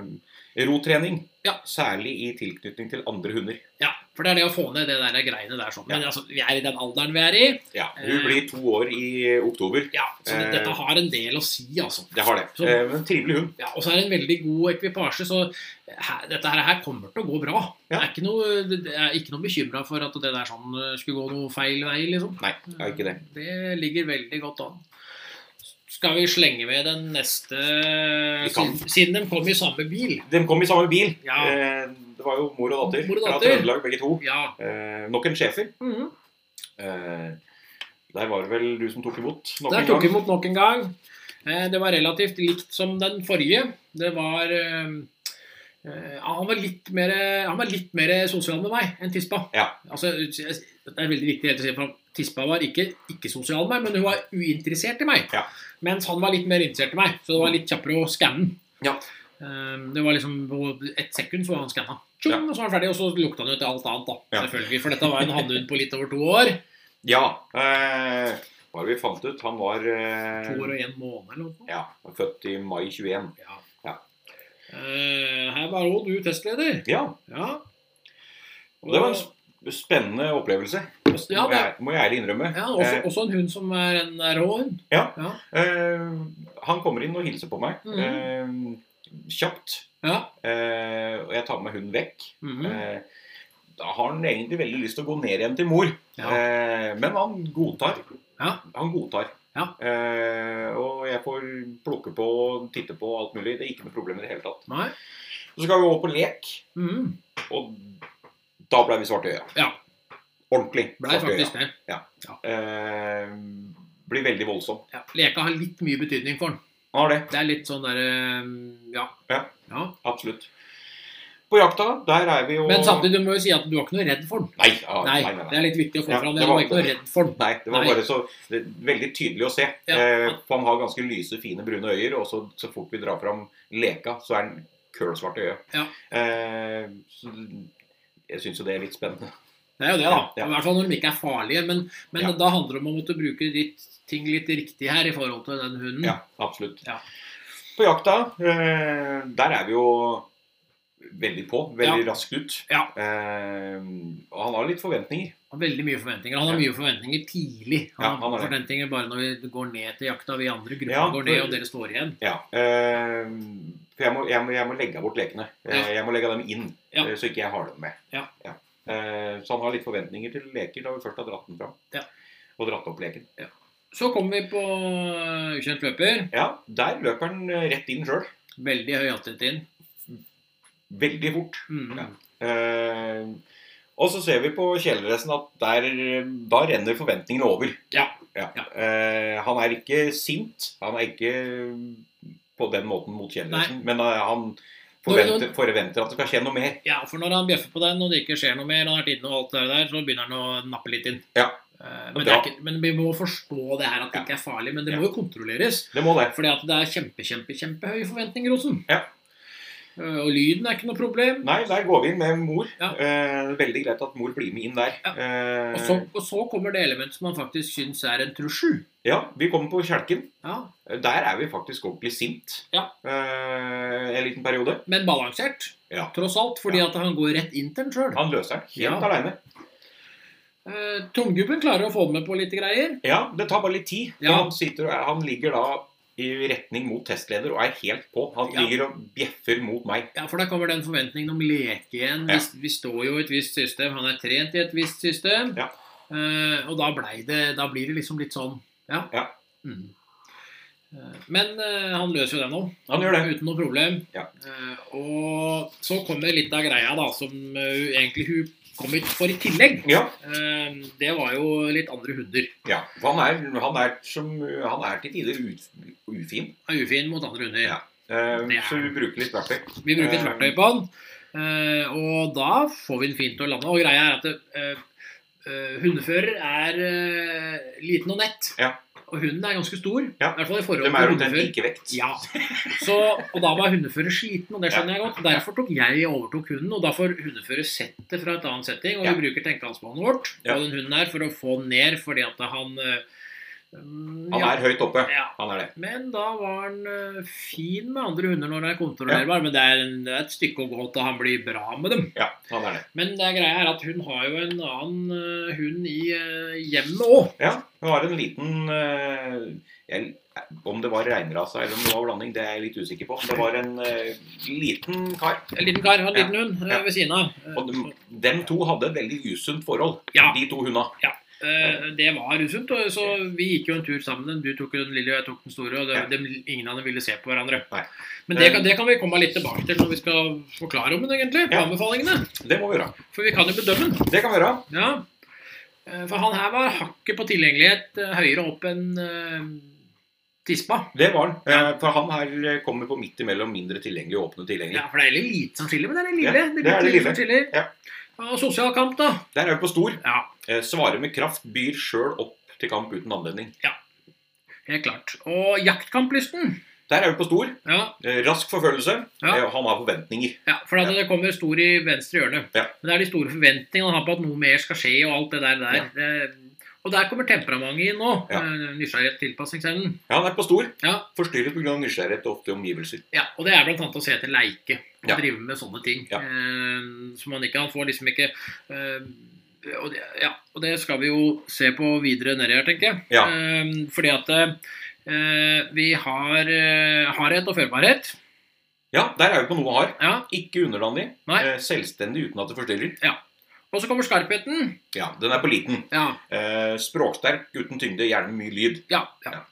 S1: rotrening.
S2: Ja.
S1: Særlig i tilknytning til andre hunder.
S2: Ja, for det er det å få ned det der greiene der sånn. Men
S1: Ja.
S2: altså, vi er i den alderen vi er i.
S1: Ja, Hun
S2: Eh.
S1: blir to år i oktober.
S2: Ja, så det,
S1: Eh.
S2: dette har en del å si, altså.
S1: Det har det.
S2: Så-
S1: Eh, men trivelig hund.
S2: Ja, og så er det en veldig god ekvipasje, så her, dette her, her kommer til å gå bra.
S1: Ja.
S2: Jeg er ikke noe, det- det er ikke noe bekymra for at det der sånn eh, skulle gå noe feil vei, liksom.
S1: Nei, det er ikke det.
S2: Det ligger veldig godt an. Skal vi slenge ved den neste
S1: Vi kan.
S2: siden, siden de kom i samme bil?
S1: De kom i samme bil.
S2: Ja.
S1: Eh, det var jo mor og datter,
S2: Mor og
S1: fra
S2: datter.
S1: Trøndelag, begge to.
S2: Ja.
S1: Eh, nok en schæfer.
S2: Mhm.
S1: Eh, der var det vel du som tok imot? nok
S2: Der
S1: en
S2: tok vi
S1: gang.
S2: imot nok en gang. Eh, Det var relativt likt som den forrige. Det var eh, eh, Han var litt mer, han var litt mer sosial med meg enn tispa.
S1: Ja.
S2: Altså, jeg- det er veldig viktig helt å si, for tispa var ikke, ikke sosial med meg, men hun var uinteressert i meg.
S1: Ja.
S2: Mens han var litt mer interessert i meg, så det var litt kjappere å skanne.
S1: Ja.
S2: Eh, Det var liksom På ett sekund så var han skanna. Tjong,
S1: Ja.
S2: Og så var han ferdig, og så lukta han jo til alt annet, da.
S1: Ja.
S2: Selvfølgelig. For dette var en hannhund på litt over to år.
S1: Ja. Eh, hva var det vi fant ut? Han var eh,
S2: To år og en måned eller noe.
S1: Ja, var født i mai 21.
S2: Ja.
S1: Ja.
S2: Eh, her var òg du testleder.
S1: Ja.
S2: Ja.
S1: Og det var en sp- spennende opplevelse.
S2: Ja,
S1: må, jeg, må jeg ærlig innrømme.
S2: ja, også, også en hund som er en rå hund.
S1: Eh. Ja.
S2: Ja.
S1: Eh, eh, han kommer inn og hilser på meg.
S2: Mm.
S1: Eh, kjapt.
S2: ja.
S1: Eh, og jeg tar med hunden vekk.
S2: Mhm.
S1: Eh, da har han egentlig veldig lyst til å gå ned igjen til mor.
S2: Ja.
S1: Eh, men han godtar.
S2: Ja.
S1: Han godtar.
S2: Ja.
S1: Eh, og jeg får plukke på og titte på og alt mulig. Det er ikke noe problem i det hele tatt.
S2: Nei.
S1: Så skal vi over på lek,
S2: Mhm.
S1: og da ble vi svarte i øya.
S2: Ja.
S1: Ordentlig.
S2: Blei
S1: svarte i øya.
S2: faktisk det.
S1: Eh, blir veldig voldsom.
S2: Ja. Leka har litt mye betydning for den.
S1: Han har det.
S2: Det er litt sånn derre ja.
S1: Ja.
S2: ja.
S1: Absolutt. På jakta, der er vi jo
S2: Men samtidig du må jo si at du var ikke noe redd for den.
S1: Nei, ja,
S2: Nei,
S1: nei, nei,
S2: det
S1: nei.
S2: er litt viktig å få
S1: Ja,
S2: fram.
S1: det
S2: det. Du
S1: var-
S2: var ikke noe redd for den.
S1: Nei, det var
S2: Nei.
S1: bare så det, er Veldig tydelig å se.
S2: Ja.
S1: Eh, for han har ganske lyse, fine brune øyer, og så, så fort vi drar fram leka, så er han kølsvart i øyet.
S2: Ja.
S1: Eh, så jeg syns jo det er litt spennende.
S2: Det er jo det, da.
S1: Ja.
S2: I hvert fall når de ikke er farlige. Men, men
S1: Ja.
S2: da handler det om å måtte bruke ditt ting litt riktig her i forhold til den hunden.
S1: Ja, absolutt.
S2: Mm. Ja.
S1: På jakta, eh, der er vi jo veldig på. Veldig raskt ut.
S2: Ja.
S1: Eh, og han har litt forventninger.
S2: har veldig mye forventninger. Han har mye forventninger tidlig. Han,
S1: Ja, han har
S2: har
S1: det.
S2: forventninger bare når vi går ned til jakta, vi andre grupper
S1: Ja,
S2: går ned,
S1: for-
S2: og dere står igjen.
S1: Ja. Eh, for jeg må, jeg, må, jeg må legge bort lekene. Eh,
S2: Ja.
S1: Jeg må legge dem inn,
S2: Ja.
S1: eh, så ikke jeg har dem med.
S2: Ja.
S1: Eh, så han har litt forventninger til leker da vi først har dratt den fram.
S2: Ja.
S1: Og dratt opp leken.
S2: Så kommer vi på øh, ukjent løper.
S1: Ja, der løper han eh, rett inn sjøl.
S2: Veldig høy hastighet inn.
S1: Veldig fort.
S2: Mm.
S1: Ja. Eh, og så ser vi på kjeledressen at der, eh, da renner forventningene over.
S2: Ja. Ja.
S1: Eh, han er ikke sint. Han er ikke eh, på den måten mot kjeledressen, men eh, han forventer, forventer at det skal skje noe mer.
S2: ja, for når han bjeffer på den, og det ikke skjer noe mer, han har vært inne og alt det der, så begynner han å nappe litt inn.
S1: Ja.
S2: Eh,
S1: Og
S2: Men, det er
S1: dra.
S2: ikke, men vi må forstå det her at det
S1: Ja.
S2: ikke er farlig, men det
S1: Ja.
S2: må jo kontrolleres.
S1: Det må det.
S2: Fordi at det er kjempe, kjempe, kjempehøye forventninger hos den.
S1: Ja.
S2: Eh, Og lyden er ikke noe problem.
S1: Nei, der går vi inn med mor.
S2: Ja.
S1: Eh, veldig greit at mor blir med inn der.
S2: Ja.
S1: Eh,
S2: Og så, og så kommer det elementet som man faktisk syns er en trussel.
S1: ja, vi kommer på kjelken.
S2: Ja,
S1: Eh, Der er vi faktisk ordentlig sint
S2: Ja.
S1: eh, en liten periode.
S2: Men balansert,
S1: Ja.
S2: tross alt, fordi at han går rett inn til den sjøl.
S1: Han løser den helt
S2: Ja.
S1: aleine.
S2: Eh, Tunggubben klarer å få med på litt greier.
S1: Ja, det tar bare litt tid. for
S2: Ja.
S1: Han, sitter, og er- han ligger da i retning mot testleder og er helt på. Han
S2: Ja.
S1: ligger og bjeffer mot meg.
S2: Ja, For da kommer den forventningen om leke igjen.
S1: Ja.
S2: Vi, vi står jo i et visst system, han er trent i et visst system.
S1: Ja.
S2: Eh, og da, blei det, da blir det liksom litt sånn. Ja.
S1: Ja.
S2: Mm. Eh, Men eh, han løser jo den nå.
S1: Han gjør det.
S2: Uten noe problem.
S1: Ja.
S2: Eh, og så kommer litt av greia da, som eh, egentlig hun kom ut for i tillegg.
S1: Ja,
S2: Eh, det var jo litt andre hunder.
S1: ja. For han er, han er, som, han er til tider ut, ufin.
S2: er ufin mot andre hunder.
S1: Ja. Eh,
S2: Det er-
S1: Så vi bruker litt verktøy.
S2: Vi bruker et verktøy på han, eh, og da får vi den fint til å lande. Og greia er at eh, eh, hundefører er eh, liten og nett.
S1: Ja.
S2: Og hunden er ganske stor.
S1: Ja.
S2: I hvert fall i forhold
S1: De
S2: til
S1: er omtrent
S2: hundefører.
S1: like vekt.
S2: Ja. Så, og da var hundefører sliten, og det skjønner jeg godt. Derfor tok jeg overtok hunden, og da får hundefører sett det fra et annet setting. Og
S1: Ja.
S2: vi bruker tenkehalsbåndet vårt
S1: Ja.
S2: og den hunden her for å få den ned, fordi at han eh, mm,
S1: Han er høyt oppe.
S2: ja, ja.
S1: Han er det.
S2: Men da var han eh, fin med andre hunder når han er kontrollerbar. Men det er, en, det er et stykke å gå til han blir bra med dem.
S1: Ja, han er det.
S2: Men det greia er at hun har jo en annen eh, hund i eh, hjemmet òg.
S1: Ja, hun har en liten eh, jeg, Om det var reinrasa eller om det var blanding, det er jeg litt usikker på. Det var en eh, liten kar.
S2: En liten kar, en liten hund eh,
S1: Ja.
S2: ved siden av. Eh,
S1: Og de, dem to hadde et veldig usunt forhold,
S2: Ja.
S1: de to hundene.
S2: Eh, Det var usunt, og så vi gikk jo en tur sammen. Du tok den lille, og jeg tok den store. Og det,
S1: Ja.
S2: dem- ingen av dem ville se på hverandre.
S1: Nei. Eh.
S2: Men det kan, det kan vi komme litt tilbake til når vi skal forklare om den, egentlig. På
S1: Ja.
S2: anbefalingene.
S1: Det må vi gjøre.
S2: For vi kan jo bedømme den.
S1: Det kan vi gjøre.
S2: Ja. Eh, For han her var hakket på tilgjengelighet eh, høyere opp enn eh, tispa.
S1: Det var han. Eh, for han her kommer på midt imellom mindre tilgjengelig og åpne tilgjengelig.
S2: Ja, for det er litt lite som skiller, men det er det lille.
S1: Ja, det er det lille.
S2: som skiller.
S1: Ja.
S2: Og sosial kamp, da.
S1: Der er vi på stor.
S2: Ja,
S1: Eh, svarer med kraft, byr sjøl opp til kamp uten anledning.
S2: helt klart. Og jaktkamplysten.
S1: Der er vi på stor.
S2: Ja,
S1: Eh, rask forfølgelse.
S2: Ja.
S1: Eh, han har forventninger.
S2: Ja, for at det kommer stor i venstre hjørne.
S1: Ja.
S2: Men det er de store forventningene han har på at noe mer skal skje, og alt det der. der. Det, og der kommer temperamentet inn nå.
S1: Ja.
S2: eh, Nysgjerrighet, tilpasningsevnen.
S1: Ja, han er på stor.
S2: Ja.
S1: Forstyrret pga. nysgjerrighet og ofte omgivelser.
S2: Ja, og det er blant annet å se etter leike. Og
S1: Ja.
S2: drive med sånne ting.
S1: Ja.
S2: Eh, som han ikke Han får liksom ikke eh, og det, ja, og det skal vi jo se på videre nedi her, tenker jeg.
S1: Ja.
S2: Eh, fordi at eh, vi har eh, hardhet og førbarhet.
S1: Ja, der er vi på noe han har.
S2: Ja.
S1: Ikke underlandig.
S2: Nei.
S1: Eh, selvstendig uten at det forstyrrer.
S2: Og så kommer skarpheten.
S1: Ja, Den er på liten.
S2: Ja,
S1: Eh, språksterk, uten tyngde, gjerne mye lyd.
S2: Ja, ja.
S1: Ja.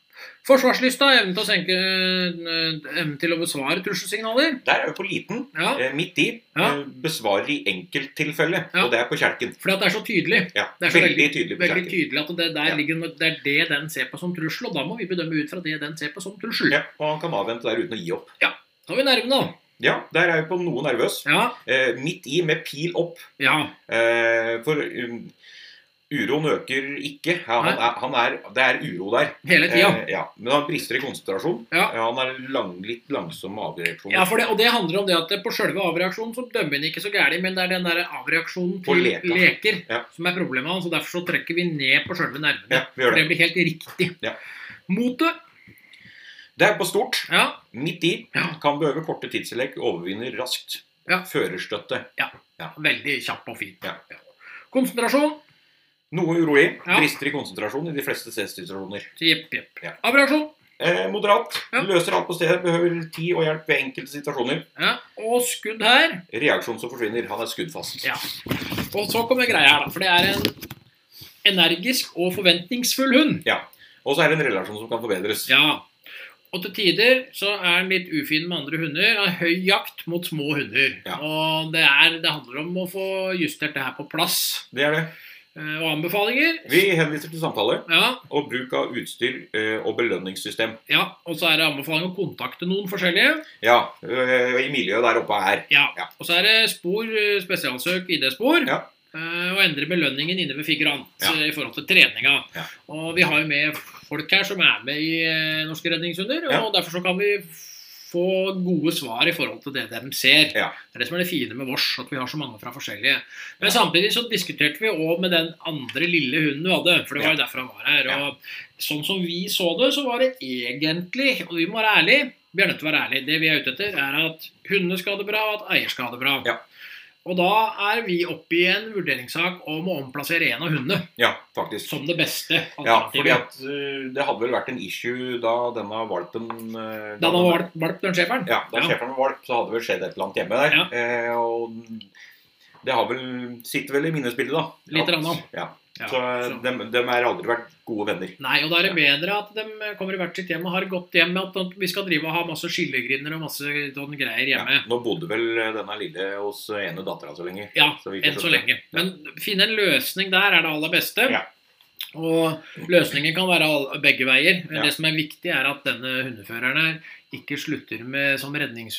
S2: Forsvarslysta, evnen til å senke eh, Evnen til å besvare trusselsignaler.
S1: Der er vi på liten.
S2: Ja,
S1: Eh, midt i.
S2: Ja.
S1: Eh, besvarer i enkelttilfelle,
S2: Ja.
S1: og det er på kjelken.
S2: fordi at det er så tydelig.
S1: Ja,
S2: Det er så
S1: veldig tydelig på
S2: Veldig
S1: kjelken.
S2: tydelig at det, der
S1: Ja.
S2: ligger, noe- det er det den ser på som trussel, og da må vi bedømme ut fra det den ser på som trussel.
S1: Ja, og han kan avvente der uten å gi opp.
S2: Da er vi nærme, da.
S1: Ja, der er vi på noe nervøs.
S2: Ja,
S1: Eh, midt i med pil opp.
S2: ja,
S1: Eh, for um, uroen øker ikke. Ja, han er, han er, det er uro der.
S2: hele tida.
S1: Eh, ja. Men han brister i konsentrasjon.
S2: Ja.
S1: han er lang, litt langsom med avreaksjoner.
S2: Ja, for det, og det handler om det at på sjølve avreaksjonen så dømmer han ikke så gærent, men det er den der avreaksjonen
S1: På
S2: til
S1: leka.
S2: leker
S1: Ja.
S2: som er problemet hans, og derfor så trekker vi ned på sjølve nervene.
S1: Ja, vi gjør
S2: For
S1: det.
S2: det blir helt riktig.
S1: Ja.
S2: Motet.
S1: Det er på stort.
S2: Ja,
S1: Midt i.
S2: Ja.
S1: Kan behøve korte tidstillegg. Overvinner raskt.
S2: Ja.
S1: Førerstøtte.
S2: veldig kjapp og fin.
S1: Ja.
S2: Konsentrasjon.
S1: Noe urolig.
S2: Ja.
S1: Brister i konsentrasjon i de fleste stedssituasjoner.
S2: Jepp, jepp.
S1: Ja.
S2: Abreasjon.
S1: Eh, moderat.
S2: Ja.
S1: Løser alt på stedet. Behøver tid og hjelp ved enkelte situasjoner.
S2: Ja. Og skudd her.
S1: Reaksjon som forsvinner. Han er skuddfast.
S2: Ja. Og så kommer greia her, da. For det er en energisk og forventningsfull hund.
S1: Og så er det en relasjon som kan forbedres.
S2: Ja. Og til tider så er den litt ufin med andre hunder. Har høy jakt mot små hunder.
S1: Ja.
S2: Og det, er, det handler om å få justert det her på plass.
S1: Det er det.
S2: Eh, Og anbefalinger.
S1: Vi henviser til samtale
S2: Ja,
S1: og bruk av utstyr eh, og belønningssystem.
S2: ja. Og så er det anbefaling å kontakte noen forskjellige.
S1: Ja, eh, i miljøet der oppe er
S2: Ja.
S1: Ja.
S2: Og så er det spor, eh, spesialsøk, ID-spor.
S1: Ja.
S2: Eh, Og endre belønningen inne ved figurant
S1: Ja.
S2: eh, i forhold til treninga.
S1: Ja.
S2: Og vi har jo med folk her som er med i eh, Norske redningshunder, og
S1: Ja.
S2: derfor så kan vi få gode svar i forhold til det de ser.
S1: Ja.
S2: Det er det som er det fine med vårs, at vi har så mange fra forskjellige.
S1: Ja.
S2: Men samtidig så diskuterte vi òg med den andre lille hunden du hadde, for det var jo derfor han var her.
S1: Ja.
S2: Og sånn som vi så det, så var det egentlig, og vi må være ærlige, vi er nødt til å være ærlige. Det vi er ute etter, er at hundene skal ha det bra, og at eier skal ha det bra.
S1: Ja.
S2: Og da er vi oppe i en vurderingssak om å omplassere en av hundene
S1: Ja, faktisk.
S2: som det beste
S1: Ja, fordi
S2: alternativet.
S1: at eh, det hadde vel vært en issue da denne valpen eh,
S2: da han var valp, den schæferen.
S1: Ja, da
S2: Ja.
S1: sjefen var valp, så hadde det vel skjedd et eller annet hjemme der.
S2: Ja.
S1: Eh, og det har vel sitter vel i minnebildet, da. At-
S2: Litt grann,
S1: Ja.
S2: Ja,
S1: Så eh,
S2: så-
S1: dem, dem er aldri vært gode venner.
S2: Nei, og da er det bedre at de kommer i hvert sitt hjem og har et godt hjem, enn at vi skal drive og ha masse skillegrinder og masse sånn greier hjemme.
S1: Ja. Nå bodde vel eh, denne lille hos eh, ene dattera så lenge.
S2: Ja,
S1: så vidt jeg
S2: enn så
S1: skjønte.
S2: lenge. Men finne en løsning der er det aller beste.
S1: Ja.
S2: Og løsningen kan være all- begge veier. Men
S1: Ja.
S2: Det som er viktig, er at denne hundeføreren her ikke slutter med som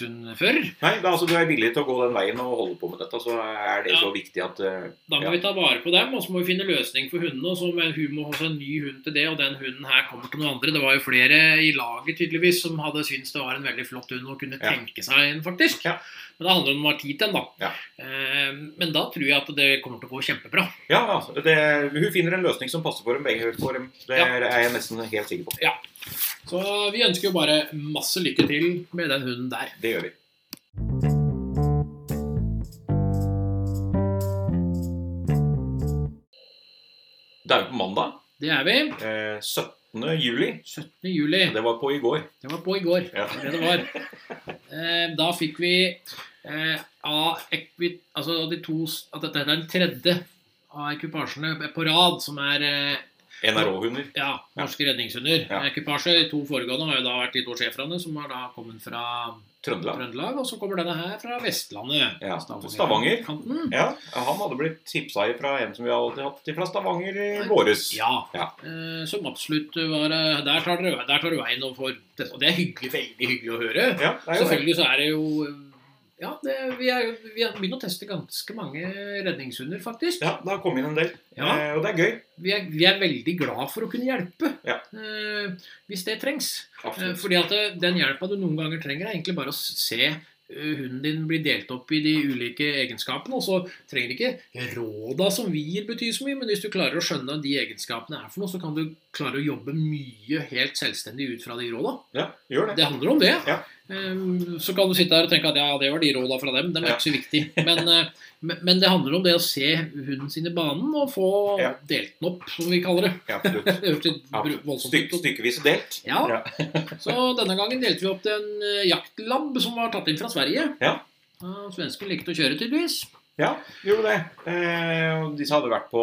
S2: redningshundfører.
S1: Nei, da, altså, du er villig til å gå den veien og holde på med dette, så er det
S2: Ja.
S1: så viktig at eh,
S2: Da må
S1: Ja.
S2: vi ta vare på dem, og så må vi finne løsning for hundene. Og så må hun må ha seg en ny hund til det, og den hunden her kommer til noen andre. Det var jo flere i laget tydeligvis som hadde syntes det var en veldig flott hund og kunne
S1: Ja.
S2: tenke seg en, faktisk.
S1: Ja.
S2: Men det handler om å ha tid til en, da.
S1: Ja.
S2: Eh, Men da tror jeg at det kommer til å gå kjempebra.
S1: Ja, altså, det, hun finner en løsning som passer for dem begge. For dem. Det
S2: Ja.
S1: er jeg nesten helt sikker på.
S2: Så vi ønsker jo bare masse lykke til med den hunden der.
S1: Det gjør vi. Det er jo på mandag.
S2: Det er vi.
S1: Eh, 17. juli.
S2: 17. juli.
S1: Det var på i går.
S2: Det var på i går.
S1: Ja.
S2: Det var det det var. Eh, Da fikk vi eh, av ekvi, altså de to, s- at dette er den tredje av ekvipasjene på rad som er eh,
S1: NRH-hunder.
S2: ja, norske redningshunder.
S1: Ja.
S2: Ekvipasje, De to foregående har jo da vært de to sjefene som har da kommet fra
S1: Trøndelag.
S2: Trøndelag. Og så kommer denne her fra Vestlandet.
S1: Ja, Stavanger.
S2: Kanten.
S1: Ja, Han hadde blitt tipsa fra en som vi alltid hatt fra Stavanger i våres.
S2: Ja.
S1: Ja.
S2: Eh, som absolutt var eh, Der tar dere, der tar dere veien og får Og det er hyggelig, veldig hyggelig å høre.
S1: Ja, det er jo det.
S2: Selvfølgelig så er det jo eh, Ja, det, vi, er, jo- vi har begynt å teste ganske mange redningshunder, faktisk.
S1: Ja, det har kommet inn en del.
S2: Ja.
S1: Eh, og det er gøy.
S2: Vi, er, vi er veldig glad for å kunne hjelpe
S1: Ja.
S2: eh, hvis det trengs. Eh,
S1: Absolutt.
S2: fordi at eh, den hjelpa du noen ganger trenger, er egentlig bare å se eh, hunden din bli delt opp i de ulike egenskapene. Og så trenger ikke råda som vi gir, bety så mye, men hvis du klarer å skjønne de egenskapene er for noe, så kan du klare å jobbe mye helt selvstendig ut fra de råda.
S1: Ja, gjør det.
S2: Det handler om det.
S1: Ja.
S2: Eh, Så kan du sitte her og tenke at ja, det var de råda fra dem. De er
S1: Ja.
S2: ikke så viktige. Men, eh, men- men det handler om det å se hunden sin i banen og få
S1: Ja.
S2: delt den opp, som vi kaller det.
S1: Ja, absolutt.
S2: Det hørtes litt bru- voldsomt
S1: Styk,
S2: ut.
S1: stykkevis delt.
S2: Ja.
S1: Ja.
S2: Så denne gangen delte vi opp til en eh, jaktlabb som var tatt inn fra Sverige.
S1: Ja.
S2: Eh, Svensken likte å kjøre, tydeligvis.
S1: Ja, gjorde det. Eh, og disse hadde vært på,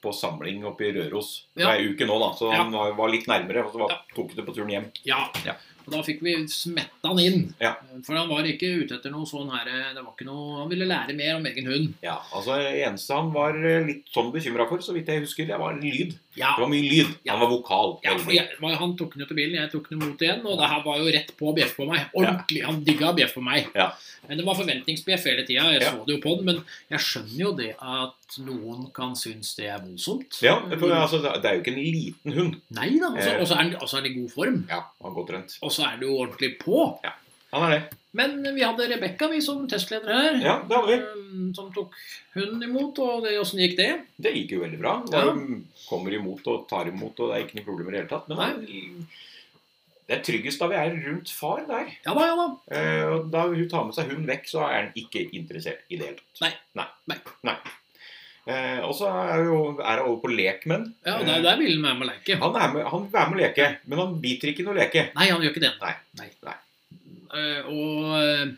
S1: på samling oppe i Røros
S2: Ja.
S1: hver uke nå, da. Så
S2: Ja.
S1: han var, var litt nærmere, og så var, tok det på turen hjem.
S2: Ja.
S1: Ja.
S2: Og da fikk vi smetta han inn.
S1: Ja.
S2: For han var ikke ute etter noe sånn her eh, det var ikke noe, Han ville lære mer om egen hund.
S1: Ja, altså det eneste han var eh, litt sånn bekymra for, så vidt jeg husker, det var lyd.
S2: Ja,
S1: Det var mye lyd.
S2: Ja.
S1: Han var vokal.
S2: Ja, for jeg, var- han tok den ut av bilen, jeg tok den imot igjen, og det her var jo rett på bjeff på meg. Ordentlig. Han digga bjeff på meg.
S1: Ja.
S2: Men det var forventningsbjeff hele tida. Jeg
S1: Ja.
S2: så det jo på den, men jeg skjønner jo det at noen kan synes det er voldsomt.
S1: Ja, for, altså, det det er jo ikke en liten hund.
S2: Nei da, og
S1: Eh.
S2: så- og så er, han- og så er han i god form.
S1: Ja, han er godt trent.
S2: Og så er det jo ordentlig på.
S1: Han er det.
S2: Men vi hadde Rebekka, vi, som testleder her.
S1: Ja, det hadde vi.
S2: eh, Som tok hunden imot, og det- åssen gikk det?
S1: Det gikk jo veldig bra. Og
S2: Ja.
S1: de Kommer imot og tar imot, og det er ikke noe problem i det hele tatt. Men det er, det er tryggest da vi er rundt far der.
S2: Ja da, ja da.
S1: Eh, og da hun tar med seg hunden vekk, så er han ikke interessert i det hele tatt.
S2: Nei. Nei.
S1: Eh, og så er jo- er hun over på lekmenn.
S2: Ja, der, der ville han være med og leke.
S1: Han er med, han er med å leke, men han biter ikke noe leke.
S2: Nei, han gjør ikke det.
S1: Nei.
S2: Nei.
S1: Nei.
S2: Eh, og eh,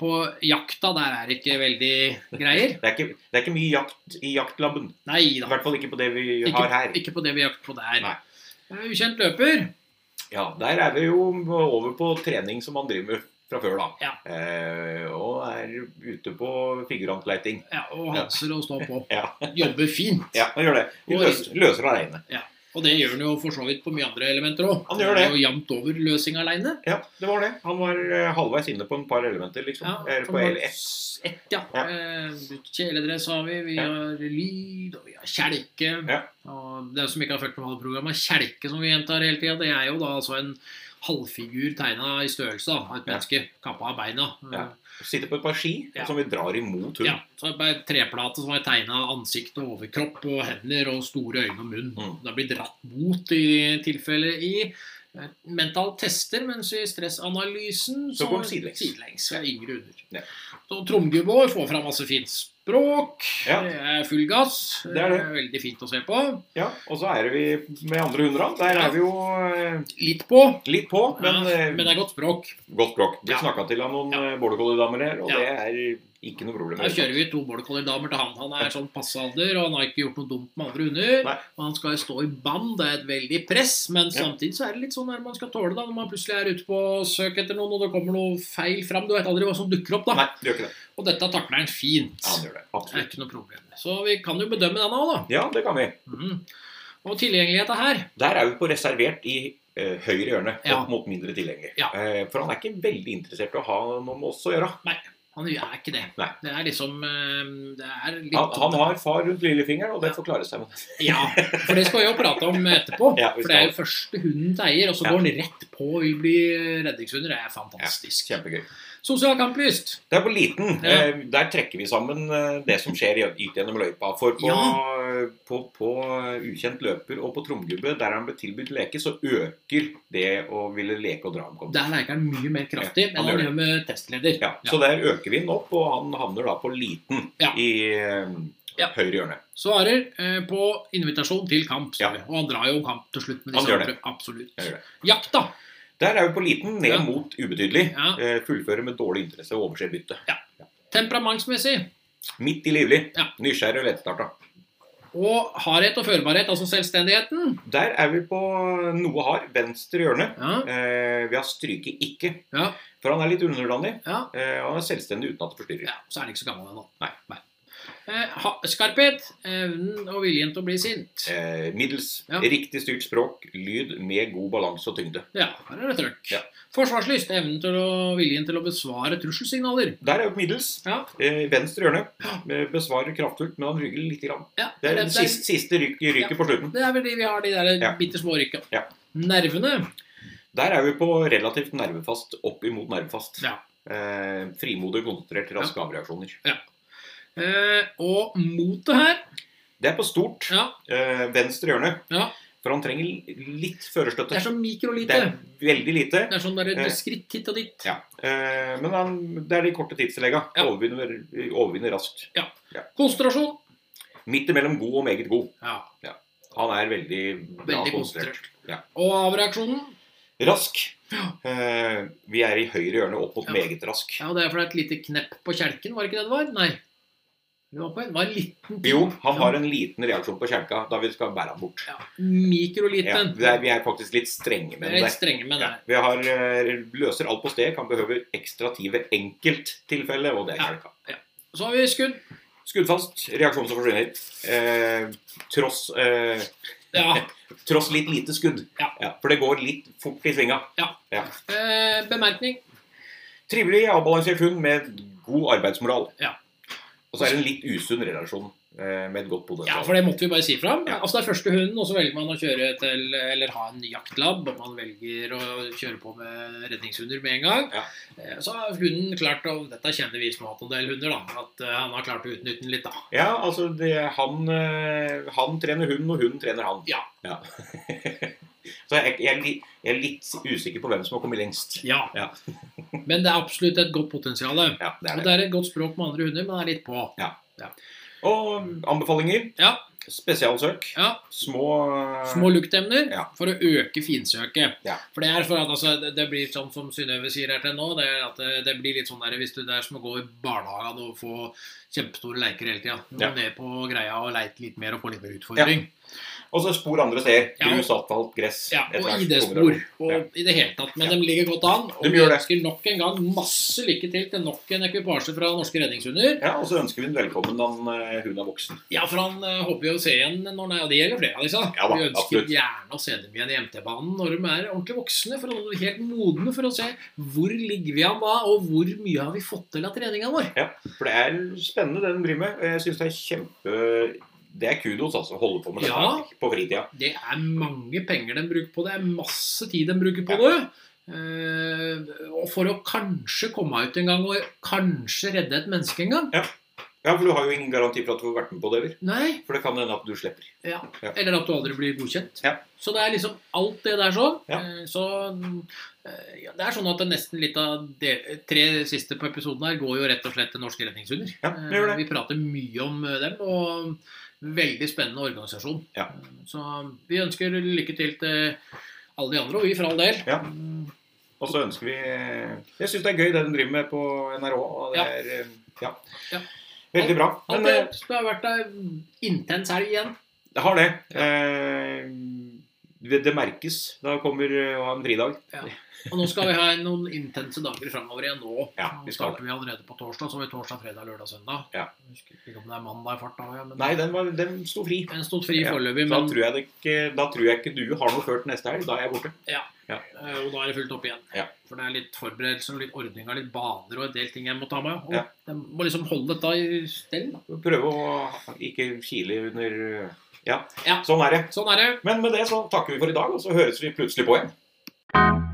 S2: på jakta der er det ikke veldig greier.
S1: Det er ikke, det er ikke mye jakt i jaktlaben.
S2: Nei
S1: I
S2: da.
S1: hvert fall ikke på det vi har
S2: Ikke,
S1: her.
S2: ikke på det vi jakter på der.
S1: Nei.
S2: Eh, Ukjent løper.
S1: Ja, Der er det jo over på trening som han driver med fra før, da.
S2: Ja.
S1: Eh, og er ute på figurantleiting.
S2: Ja, og Hanser å stå på.
S1: Ja.
S2: Jobber fint.
S1: Ja, han gjør det. Vi
S2: Og-
S1: løser, løser aleine.
S2: Og det gjør han jo for så vidt på mye andre elementer òg.
S1: Han gjør det.
S2: Og jevnt over løsing aleine.
S1: Ja, det var det. Han var eh, halvveis inne på en par elementer, liksom.
S2: Ja,
S1: Eller på
S2: han var-
S1: LS.
S2: Ett, ja.
S1: Ja.
S2: Eh, Kjeledress har vi, vi
S1: Ja.
S2: har lyd, og vi har kjelke.
S1: Ja.
S2: Og det som ikke har fulgt med alle programmet, kjelke som vi gjentar hele tida, det er jo da altså en halvfigur tegna i størrelse da, av et
S1: Ja.
S2: menneske. Kappa av beina.
S1: Ja. Sitter på et par ski
S2: Ja.
S1: som vi drar imot hund.
S2: Ja, så er det bare treplate som er tegna ansikt og overkropp og hender og store øyne og munn.
S1: Mm.
S2: Det blir dratt mot i tilfelle i eh, mental tester, mens i stressanalysen
S1: Så går den sidelengs.
S2: sidelengs og yngre under.
S1: Ja.
S2: Så tromgubber får fram masse fint språk.
S1: Ja.
S2: Det er full gass.
S1: Det er det.
S2: Veldig fint å se på.
S1: Ja, og så er vi med andre hunder. da. Der er vi jo eh,
S2: Litt på,
S1: litt på, men,
S2: men,
S1: eh,
S2: men det er godt språk.
S1: godt språk. Vi
S2: Ja.
S1: snakka til han noen
S2: Ja.
S1: ja. border collie-damer her, og
S2: Ja.
S1: det er ikke noe problem.
S2: Der kjører vi to border collie-damer til han. Han er sånn passe alder, og han har ikke gjort noe dumt med andre hunder.
S1: Nei.
S2: Og han skal jo stå i band, det er et veldig press, men
S1: Ja.
S2: samtidig så er det litt sånn der man skal tåle da, når man plutselig er ute på søk etter noen, og det kommer noe feil fram. Du vet aldri hva som dukker opp, da.
S1: Nei, det gjør ikke det.
S2: Og dette takler han fint.
S1: Ja, han gjør det.
S2: Det er
S1: Absolutt.
S2: ikke noe problem. Så vi kan jo bedømme denne òg, da.
S1: Ja, det kan vi.
S2: Mhm. Og tilgjengeligheta her
S1: Der er vi på reservert i eh, høyre hjørne opp
S2: Ja.
S1: mot mindre tilgjengelig.
S2: Ja.
S1: Eh, for han er ikke veldig interessert i å ha noe med oss å gjøre.
S2: Han er ikke det.
S1: Nei.
S2: Det er liksom eh, Det er litt
S1: Han, han har far rundt lillefingeren, og det
S2: Ja.
S1: får klare seg med det.
S2: Ja, for det skal vi jo prate om etterpå.
S1: Ja, vi
S2: for det
S1: skal.
S2: er jo første hunden til eier, og så
S1: Ja.
S2: går den rett på og vil bli redningshunder. Det er fantastisk.
S1: Kjempegøy.
S2: Sosial kamplyst.
S1: Det er på liten.
S2: Ja.
S1: Eh, der trekker vi sammen eh, det som skjer i- ut gjennom løypa. For på, på, på eh, ukjent løper og på tromgubbe, der han ble tilbudt leke, så øker det å ville leke og dra om
S2: Der leker han mye mer kraftig,
S1: Ja, han
S2: men han
S1: gjør det.
S2: gjør med testleder.
S1: Ja, så der øker vi den opp, og han havner da på liten
S2: Ja.
S1: i eh,
S2: Ja.
S1: høyre hjørne.
S2: Svarer eh, på invitasjon til kamp.
S1: Ja.
S2: Ja. Og han drar jo kamp til slutt. Med
S1: Han
S2: disse
S1: gjør det.
S2: andre. Absolutt.
S1: Jeg gjør det.
S2: Jakt, da.
S1: Der er vi på liten, ned
S2: Ja.
S1: mot ubetydelig.
S2: Ja.
S1: Eh, fullfører med dårlig interesse og overser byttet.
S2: Temperamentsmessig.
S1: Midt i livlig.
S2: Ja.
S1: Nysgjerrig og lettstarta.
S2: Og hardhet og førbarhet, altså selvstendigheten.
S1: Der er vi på noe hard, venstre hjørne.
S2: Ja,
S1: Eh, vi har stryket ikke.
S2: Ja.
S1: For han er litt underdanig.
S2: ja.
S1: Eh, og han er selvstendig uten at det forstyrrer.
S2: ja Så er han ikke så gammel ennå.
S1: Nei.
S2: Eh, ha- skarphet. Evnen og viljen til å bli sint.
S1: Eh, middels.
S2: Ja.
S1: Riktig styrt språk. Lyd med god balanse og tyngde.
S2: Ja, her er det trøkk.
S1: Ja.
S2: Forsvarslyst. Evnen til å, viljen til å besvare trusselsignaler.
S1: Der er vi på middels.
S2: Ja,
S1: Eh, venstre hjørne. Eh, Besvarer kraftfullt, men han rygger litt. Grann.
S2: ja
S1: Det er det
S2: det,
S1: siste, siste ryk, ryket på slutten.
S2: det er vel de vi har, de der
S1: Ja.
S2: bitte små rykka.
S1: Ja.
S2: Nervene.
S1: Der er vi på relativt nervefast opp imot nervefast.
S2: Ja.
S1: Eh, frimodig, konsentrert, raske avreaksjoner.
S2: Eh, og motet her.
S1: Det er på stort
S2: Ja,
S1: eh, venstre hjørne,
S2: Ja.
S1: for han trenger li- litt
S2: det
S1: førerstøtte.
S2: er så mikrolite.
S1: Det er veldig lite.
S2: Det er sånn der
S1: Eh.
S2: et skritt hit og dit.
S1: Ja. Eh, men han, det er de korte tidstillegga.
S2: Ja.
S1: Overvinner, overvinner raskt.
S2: Konsentrasjon.
S1: Midt imellom god og meget god.
S2: Ja,
S1: Han er veldig bra
S2: veldig
S1: konsentrert.
S2: konsentrert.
S1: Ja.
S2: Og avreaksjonen.
S1: Rask. Eh, vi er i høyre hjørne opp mot
S2: Ja.
S1: meget rask.
S2: Ja, det er fordi det er et lite knepp på kjelken, var det ikke det det var? Nei. Det var, på en, var en liten ting.
S1: Jo, han har en liten reaksjon på kjelka da vi skal bære ham bort.
S2: ja,
S1: Ja,
S2: Mikroliten.
S1: det er, vi er faktisk litt strenge med
S2: Jeg er
S1: det.
S2: litt strenge med det.
S1: Ja, vi har, eh, løser alt på sted, kan behøve ekstra tid ved enkelttilfelle, og det er
S2: Ja.
S1: kjelka.
S2: Så har vi skudd.
S1: Skuddfast, reaksjon som forsvinner. Eh, tross, eh,
S2: Ja,
S1: tross litt lite skudd.
S2: Ja.
S1: for det går litt fort i svinga.
S2: Eh, bemerkning.
S1: Trivelig, avbalansert hund med god arbeidsmoral.
S2: Ja.
S1: Og så er det en litt usunn relasjon eh, med et godt
S2: Ja,
S1: potensial.
S2: for det måtte vi bare si fram.
S1: Ja.
S2: Altså, det er første hunden, og så velger man å kjøre til Eller ha en jaktlab. og Man velger å kjøre på med redningshunder med en gang.
S1: Ja.
S2: Eh, Så har hunden klart å Dette kjenner vi som har hatt en del hunder, da. At eh, han har klart å utnytte den litt, da.
S1: Ja, altså det, han, eh, han trener hunden, og hunden trener han.
S2: Ja.
S1: så jeg, jeg, er li- jeg er litt usikker på hvem som har kommet lengst.
S2: Ja.
S1: Ja.
S2: men det er absolutt et godt potensial. Og
S1: Ja, det er det.
S2: det er et godt språk med andre hunder, men det er litt på.
S1: Og anbefalinger.
S2: Ja.
S1: Spesialsøk.
S2: Ja.
S1: Små, eh,
S2: Små luktemner
S1: Ja.
S2: for å øke finsøket.
S1: Ja.
S2: For det er for at altså, det, det blir sånn som Synnøve sier her til nå, det er at det, det blir litt sånn der hvis du det er som å gå i barnehagen og få kjempestore leker hele tida. Du må
S1: Ja.
S2: ned på greia og leite litt mer og få litt mer utfordring.
S1: Og så spor andre steder.
S2: Ja.
S1: Grus, asfalt, gress.
S2: Ja,
S1: etter
S2: og
S1: hvert
S2: ID-spor.
S1: kommer det.
S2: Og
S1: Ja.
S2: i det hele tatt. Men
S1: Ja.
S2: de ligger godt an. Og
S1: De
S2: vi
S1: gjør det.
S2: ønsker nok en gang masse lykke til til nok en ekvipasje fra norske redningshunder.
S1: Ja, og så ønsker vi den velkommen når eh, hun er voksen.
S2: Ja, for han eh, håper vi å se igjen når han er Og det gjelder flere av disse. da.
S1: Ja da,
S2: vi ønsker
S1: absolutt.
S2: gjerne å se dem igjen i MT-banen når de er ordentlig voksne. For de er helt modne for å se hvor ligger vi an da, og hvor mye har vi fått til av treninga vår.
S1: For det er spennende, det hun driver med. Og jeg syns det er kjempe Det er kudos, altså. å Holde på med dette
S2: Ja.
S1: her på fritida.
S2: Det er mange penger de bruker på det. Det er masse tid de bruker på
S1: Ja.
S2: det. Eh, og for å kanskje komme ut en gang og kanskje redde et menneske en gang.
S1: Ja, for du har jo ingen garanti for at du får vært med på det, vel?
S2: Nei.
S1: For det kan hende at du slipper.
S2: Ja.
S1: Ja.
S2: Eller at du aldri blir godkjent.
S1: Ja.
S2: Så det er liksom alt det der sånn.
S1: Ja.
S2: Eh, Så eh, ja, det er sånn at det nesten litt av de tre siste på episoden her går jo rett og slett til norske redningshunder.
S1: Ja, det gjør det.
S2: Eh, Vi prater mye om eh, dem, og veldig spennende organisasjon.
S1: Ja.
S2: Eh, Så vi ønsker lykke til til alle de andre, og vi for all del.
S1: Ja.
S2: Mm,
S1: Og så ønsker vi Jeg syns det er gøy det de driver med på NRK. Og det
S2: Ja.
S1: er, eh, ja.
S2: Ja.
S1: Veldig bra.
S2: alt
S1: Men
S2: det,
S1: eh,
S2: det har vært ei intens helg igjen.
S1: det har det. Eh, det det merkes. Da kommer eh, å ha en fridag.
S2: Og nå skal vi ha noen intense dager framover igjen nå.
S1: Ja, vi
S2: nå
S1: skal
S2: starter vi allerede på torsdag, så har vi torsdag, fredag, lørdag, søndag.
S1: Ja.
S2: Jeg husker ikke om det er mandag i fart da, ja, men
S1: Nei, den, var, den sto fri.
S2: den stod fri
S1: Ja,
S2: foreløpig.
S1: Da
S2: Men
S1: tror, jeg det ikke, da tror jeg ikke du har noe før til neste helg. Da er jeg borte.
S2: Eh, Og da er det fullt opp igjen.
S1: Ja.
S2: For det er litt forberedelser, og litt ordninger, litt baner og en del ting jeg må ta med. Og
S1: Ja.
S2: jeg må liksom holde dette i stell. da.
S1: Prøve å ikke kile under ja.
S2: Ja.
S1: sånn er det.
S2: Sånn er det.
S1: Men med det så takker vi for i dag, og så høres vi plutselig på igjen.